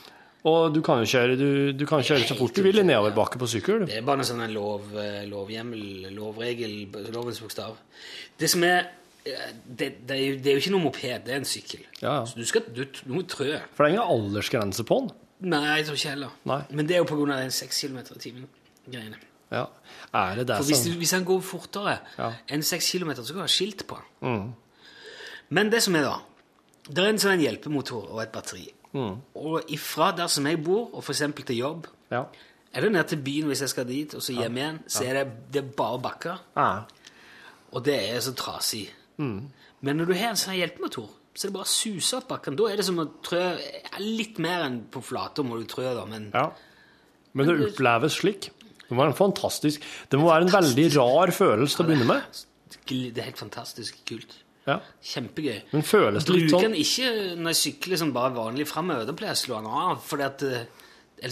[SPEAKER 11] Og du kan jo kjøre, du, du kan kjøre så fort du vil i nedoverbakke på sykkel.
[SPEAKER 6] Det er bare en sånn en lov, eh, lovhjemmel, lovregel, b- lovens bokstav. Det som er eh, det, det, er jo, det er jo ikke noe moped, det er en sykkel.
[SPEAKER 11] Ja, ja.
[SPEAKER 6] Så du skal du, du må trø.
[SPEAKER 11] For det er ingen aldersgrense på den.
[SPEAKER 6] Nei, jeg tror ikke heller.
[SPEAKER 11] Nei.
[SPEAKER 6] Men det er jo på grunn av den 6 km i timen-greiene.
[SPEAKER 11] Ja. Er det det
[SPEAKER 6] For hvis, du-
[SPEAKER 11] som
[SPEAKER 6] hvis han går fortere
[SPEAKER 11] Ja.
[SPEAKER 6] enn 6 km, så kan du ha skilt på han.
[SPEAKER 11] mm.
[SPEAKER 6] Men det som er da, det er en sånn hjelpemotor og et batteri.
[SPEAKER 11] Mm.
[SPEAKER 6] Og ifra der som jeg bor, og for eksempel til jobb,
[SPEAKER 11] Ja.
[SPEAKER 6] eller ned til byen hvis jeg skal dit, og så hjem igjen, så er det, det er bare bakker.
[SPEAKER 11] Ja.
[SPEAKER 6] Og det er så trasig.
[SPEAKER 11] Mm.
[SPEAKER 6] Men når du har en sånn hjelpemotor, Så det bare suser opp bakken. Da er det som å trø ja, litt mer enn på flata må du trø, da, men
[SPEAKER 11] Men det oppleves slik. Det må være en fantastisk Det må være en veldig rar følelse til å begynne med.
[SPEAKER 6] gl- det er helt fantastisk kult.
[SPEAKER 11] Ja.
[SPEAKER 6] Kjempegøy.
[SPEAKER 11] Men føles det litt
[SPEAKER 6] Bruker
[SPEAKER 11] sånn
[SPEAKER 6] den ikke når jeg sykler som bare vanlig framover. Da pleier jeg å slå den av, for ellers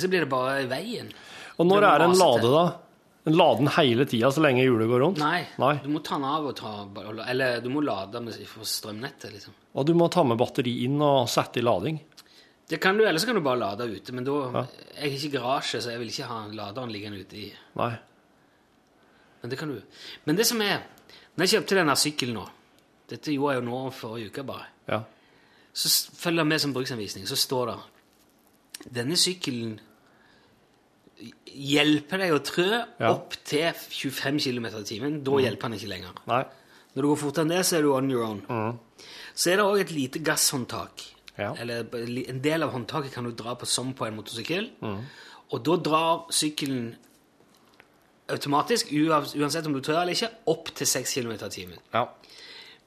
[SPEAKER 6] så blir det bare i veien.
[SPEAKER 11] Og når
[SPEAKER 6] Det
[SPEAKER 11] er en
[SPEAKER 6] masete.
[SPEAKER 11] lade, da? En laden hele tida så lenge hjulet går rundt?
[SPEAKER 6] Nei,
[SPEAKER 11] Nei.
[SPEAKER 6] du må ta den av og ta Eller du må lade med fra strømnettet, liksom.
[SPEAKER 11] Og du må ta med batteri inn og sette i lading.
[SPEAKER 6] Det kan du, Eller så kan du bare lade ute, men da
[SPEAKER 11] Ja.
[SPEAKER 6] Jeg har ikke garasje, så jeg vil ikke ha laderen liggende ute i
[SPEAKER 11] Nei.
[SPEAKER 6] Men det kan du. Men det som er Når jeg kjøpte denne sykkelen nå Dette gjorde jeg jo nå forrige uke, bare.
[SPEAKER 11] Ja.
[SPEAKER 6] Så s- følger jeg med som bruksanvisning, så står det Denne sykkelen hjelper deg å trø
[SPEAKER 17] Ja.
[SPEAKER 6] opp til 25 km i timen. Da
[SPEAKER 17] Mm.
[SPEAKER 6] hjelper den ikke lenger. Når du går fortere enn det, så er du on your own.
[SPEAKER 17] Mm.
[SPEAKER 6] Så er det òg et lite gasshåndtak. Eller b- li- en del av håndtaket kan du dra på som på en motorsykkel.
[SPEAKER 17] Mm.
[SPEAKER 6] Og da drar sykkelen automatisk, uav- uansett om du trør eller ikke, opp til 6 km i timen.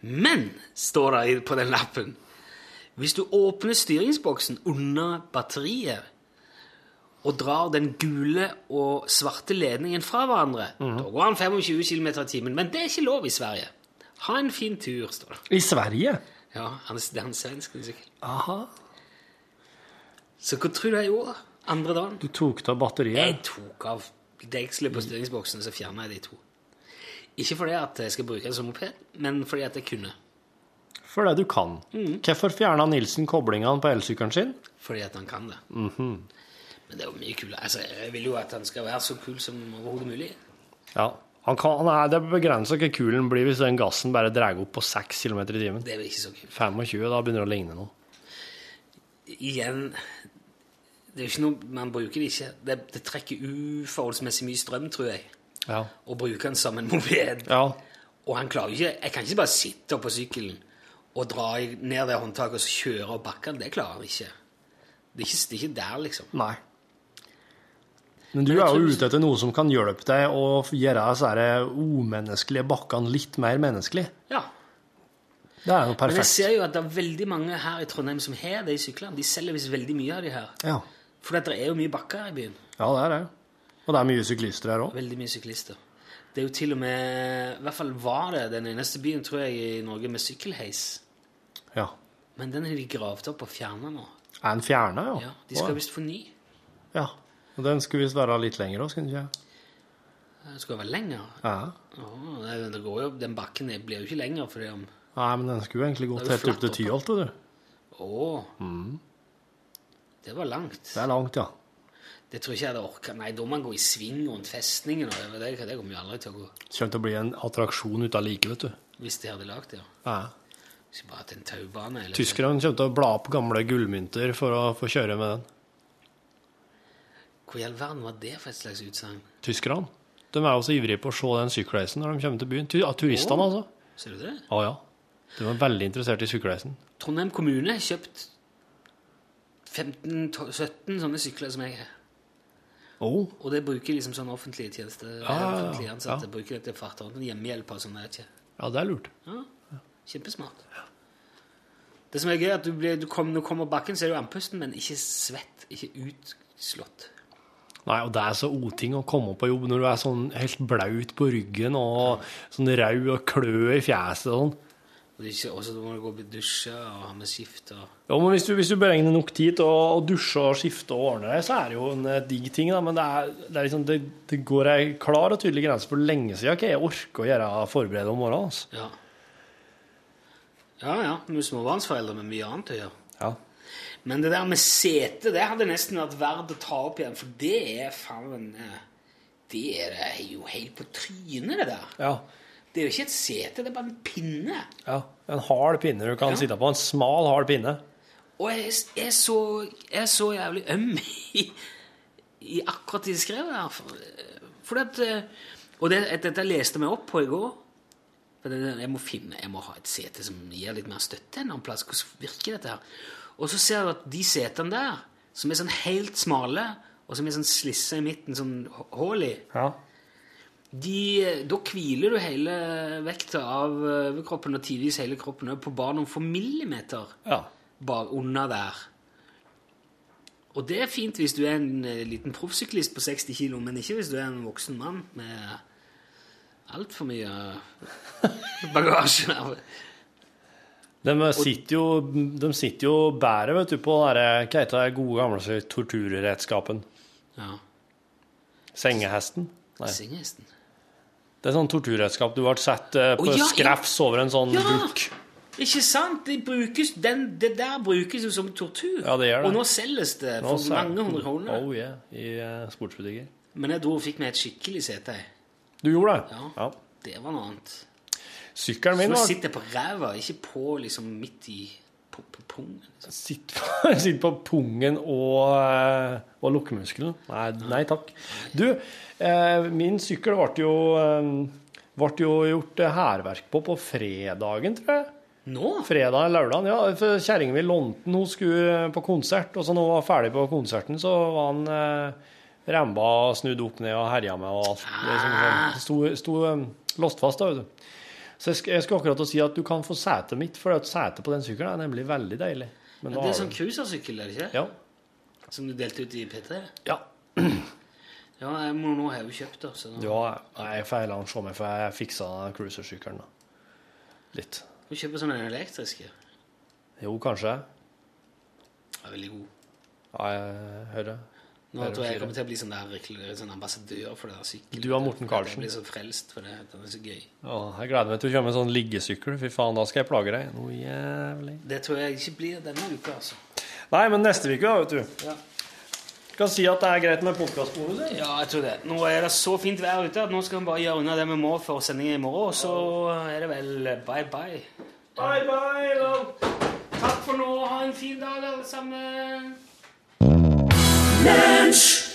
[SPEAKER 6] Men, står det i- på den lappen, hvis du åpner styringsboksen under batteriet og drar den gule og svarte ledningen fra hverandre, da går han 25 km i timen. Men det er ikke lov i Sverige. Ha en fin tur, står det.
[SPEAKER 11] I Sverige?
[SPEAKER 6] Ja, han er, det er en svensk sikkert.
[SPEAKER 11] Aha.
[SPEAKER 6] Så hva tror du jeg gjorde andre dagen?
[SPEAKER 11] Du tok av
[SPEAKER 6] Jeg
[SPEAKER 11] batteriet?
[SPEAKER 6] tok av degselet på styringsboksen, så fjerna jeg de to. Ikke fordi at jeg skal bruke det som moped, men fordi at jeg kunne.
[SPEAKER 11] For det du kan.
[SPEAKER 6] Mm.
[SPEAKER 11] Hvorfor fjerna Nilsen koblingene på elsykkelen sin?
[SPEAKER 6] Fordi at han kan det.
[SPEAKER 11] Mhm.
[SPEAKER 6] Men det er jo mye kulere. Altså, jeg vil jo at han skal være så kul som overhodet mulig.
[SPEAKER 11] Ja. Han kan, nei, det er begrensa hva kulen blir hvis den gassen bare drar opp på 6 km i timen.
[SPEAKER 6] Det er vel ikke så kult.
[SPEAKER 11] 25, da begynner det å ligne noe.
[SPEAKER 6] Igjen det er jo ikke noe, Man bruker det ikke. Det, det trekker uforholdsmessig mye strøm, tror jeg,
[SPEAKER 11] Ja.
[SPEAKER 6] å bruke den som en moped.
[SPEAKER 11] ja.
[SPEAKER 6] Og han klarer jo ikke Jeg kan ikke bare sitte opp på sykkelen og dra i- ned det håndtaket og så kjøre opp bakken. Det klarer han ikke. Det er ikke, det er ikke der, liksom.
[SPEAKER 11] Nei. Men du er jo ute etter noe som kan hjelpe deg å gjøre disse her eh, umenneskelige bakkene litt mer menneskelig.
[SPEAKER 6] Ja.
[SPEAKER 11] Det er
[SPEAKER 6] Men
[SPEAKER 11] jo
[SPEAKER 6] jeg
[SPEAKER 11] perfekt.
[SPEAKER 6] ser jo at det er veldig mange her i Trondheim som har de syklene. De selger visst veldig mye av de her.
[SPEAKER 11] Ja.
[SPEAKER 6] For det er jo mye bakker i byen.
[SPEAKER 11] ja, det er det. Og det er mye syklister her òg.
[SPEAKER 6] Veldig mye syklister. Det er jo til og med I hvert fall var det den eneste byen, tror jeg, i Norge med sykkelheis.
[SPEAKER 11] Ja.
[SPEAKER 6] Men den har de gravd opp og fjerna nå.
[SPEAKER 11] Er den fjerna, ja?
[SPEAKER 6] Ja, de skal visst få ny.
[SPEAKER 11] ja. Og den skulle visst være litt lenger òg, skulle den ikke?
[SPEAKER 6] Den skal være lenger.
[SPEAKER 11] Ja.
[SPEAKER 6] Åh, nei, det går jo, den bakken der blir jo ikke lenger fordi om
[SPEAKER 11] Nei, men den skulle jo egentlig gått
[SPEAKER 6] Det er jo
[SPEAKER 11] helt opp til
[SPEAKER 6] flatt
[SPEAKER 11] Tyholt, vet du.
[SPEAKER 6] Å,
[SPEAKER 11] Mm.
[SPEAKER 6] det var langt.
[SPEAKER 11] Det er langt, ja.
[SPEAKER 6] Det tror ikke jeg hadde orka. Nei, da må man gå i sving rundt festningen. Og det, det kommer jo aldri til å gå.
[SPEAKER 11] Kommer til å bli en attraksjon ut av like, vet du.
[SPEAKER 6] Hvis de hadde lagd det. ja.
[SPEAKER 11] Ja.
[SPEAKER 6] Hvis de bare hatt en taubane eller
[SPEAKER 11] Tyskerne kommer til å bla opp gamle gullmynter for å få kjøre med den.
[SPEAKER 6] Hvor i all verden var det for et slags utsagn?
[SPEAKER 11] Tyskerne. De er jo så ivrige på å se den sykkelreisen når de kommer til byen. Tu- ja, Turistene,
[SPEAKER 6] Åh,
[SPEAKER 11] altså.
[SPEAKER 6] Ser du det?
[SPEAKER 11] Å ja. De er veldig interessert i sykkelreisen.
[SPEAKER 6] Trondheim kommune har kjøpt 15-17 sånne sykler som jeg har.
[SPEAKER 11] Oh.
[SPEAKER 6] Og det bruker liksom sånne offentlige tjenester.
[SPEAKER 11] Ja, ja, ja.
[SPEAKER 6] offentlige ansatte
[SPEAKER 11] Ja.
[SPEAKER 6] bruker det til fart og hjemmehjelp og sånn. det er ikke.
[SPEAKER 11] Ja, det er lurt.
[SPEAKER 6] Ja, Kjempesmart. Det som er gøy, er at du blir, du kom, når du kommer opp bakken, så er du andpusten, men ikke svett. Ikke utslått.
[SPEAKER 11] Nei, og det er så oting å komme på jobb når du er sånn helt blaut på ryggen og sånn rau og klø i fjeset og sånn.
[SPEAKER 6] Og det er ikke- også da må du gå og bli dusja og ha med skift og
[SPEAKER 11] Ja, men hvis du, hvis du beregner nok tid til å, å dusje og skifte og ordne deg, så er det jo en eh, digg ting, da. Men det, er, det, er liksom, det, det går ei klar og tydelig grense for lenge siden hva jeg orker å gjøre forberedt om morgenen. Altså.
[SPEAKER 6] Ja. Ja, ja. Vi er småbarnsforeldre med mye annet å gjøre.
[SPEAKER 11] Ja.
[SPEAKER 6] Men det der med sete, det hadde nesten vært verdt å ta opp igjen, for det er faen eh, Det er jo helt på trynet, det der.
[SPEAKER 11] Ja.
[SPEAKER 6] Det er jo ikke et sete, det er bare en pinne.
[SPEAKER 11] ja. En hard pinne du kan sitte på. En smal, hard pinne.
[SPEAKER 6] Og jeg er s- jeg er så, jeg er så jævlig øm i, i akkurat det de skrev der. For, fordi at eh, Og det, dette leste vi opp på i går. For det, jeg må finne, jeg må ha et sete som gir litt mer støtte en annen plass. Hvordan virker dette her? Og så ser du at de setene der, som er sånn helt smale, og som er sånn slisse i midten, sånn h- hull i De, da hviler du hele vekta av overkroppen og tidvis hele kroppen også på bare noen få millimeter
[SPEAKER 11] Ja.
[SPEAKER 6] bak under der. Og det er fint hvis du er en eh, liten proffsyklist på 60 kilo, men ikke hvis du er en voksen mann med altfor *laughs* mye bagasje. der.
[SPEAKER 11] De sitter jo, de sitter jo bære, vet du, på den der- hva heter det gode gamle torturredskapen.
[SPEAKER 6] Ja.
[SPEAKER 11] Sengehesten. Nei.
[SPEAKER 6] Sengehesten.
[SPEAKER 11] Det er sånn torturredskap. Du ble satt eh, på
[SPEAKER 6] Å, ja,
[SPEAKER 11] skrefs over en sånn
[SPEAKER 6] Ja!
[SPEAKER 11] buk.
[SPEAKER 6] Ikke sant? Det, brukes, den, det der brukes jo som tortur.
[SPEAKER 11] Ja, det gjør det.
[SPEAKER 6] Og nå selges det
[SPEAKER 11] Nå
[SPEAKER 6] for
[SPEAKER 11] ser-
[SPEAKER 6] mange hundre kroner.
[SPEAKER 11] Oh yeah, i eh, sportsbutikker.
[SPEAKER 6] Men jeg dro og fikk meg et skikkelig sete.
[SPEAKER 11] Du gjorde det? Ja.
[SPEAKER 6] Det var noe annet.
[SPEAKER 11] Sykkelen
[SPEAKER 6] Så
[SPEAKER 11] min
[SPEAKER 6] nå
[SPEAKER 11] var
[SPEAKER 6] sitter jeg på ræva, ikke på liksom midt i på, på pungen.
[SPEAKER 11] Sitter på *laughs* pungen og, eh, og lukkemuskelen. Nei, nei takk. Du, eh, min sykkel ble jo, eh, ble jo gjort eh, hærverk på på fredagen, tror jeg.
[SPEAKER 6] Nå?
[SPEAKER 11] Fredag eller lørdag. Ja, for kjerringa mi lånte den, hun skulle eh, på konsert. Og så når hun var ferdig på konserten, så var han eh, remba og snudd opp ned og herja med og alt. Det er sånn- sånn- Sto, sto eh, låst fast, da, vet du. Så jeg, sk- jeg skulle akkurat til å si at du kan få setet mitt, for at setet på den sykkelen er nemlig veldig deilig.
[SPEAKER 6] Ja,
[SPEAKER 11] Men nå
[SPEAKER 6] det er
[SPEAKER 11] har
[SPEAKER 6] sånn
[SPEAKER 11] du-
[SPEAKER 6] cruisersykkel, er det ikke? Som du delte ut i P3?
[SPEAKER 11] Ja.
[SPEAKER 6] Ja, jeg må nå har jeg jo kjøpt det. Så nå.
[SPEAKER 11] Ja, nei, jeg feiler den så mye, for jeg fiksa cruisersykkelen. da. Litt.
[SPEAKER 6] Du kjøper sånne elektriske.
[SPEAKER 11] Jo, kanskje.
[SPEAKER 6] Det er veldig god.
[SPEAKER 11] Ja, jeg hører.
[SPEAKER 6] Nå
[SPEAKER 11] Hører
[SPEAKER 6] tror jeg jeg
[SPEAKER 11] fire.
[SPEAKER 6] kommer til å bli sånn der rekl- sånn ambassadør for det der sykkelen.
[SPEAKER 11] Du og Morten
[SPEAKER 6] Jeg
[SPEAKER 11] Karlsen.
[SPEAKER 6] blir så frelst for det. Det er så gøy.
[SPEAKER 11] Ja, jeg gleder meg til å kjøre med sånn liggesykkel. Fy faen, da skal jeg plage deg noe jævlig.
[SPEAKER 6] Det tror jeg ikke blir denne uka, altså.
[SPEAKER 11] Nei, men neste uke, da, vet du.
[SPEAKER 6] Ja.
[SPEAKER 11] Skal si at det er greit med podkastbonus. eller?
[SPEAKER 6] Ja, jeg tror det. Nå er det så fint vær ute at nå skal vi bare gjøre unna det vi må for sendingen i morgen, og så er det vel bye bye. Bye bye, Takk for nå. Ha en fin dag, alle sammen. Lunsj!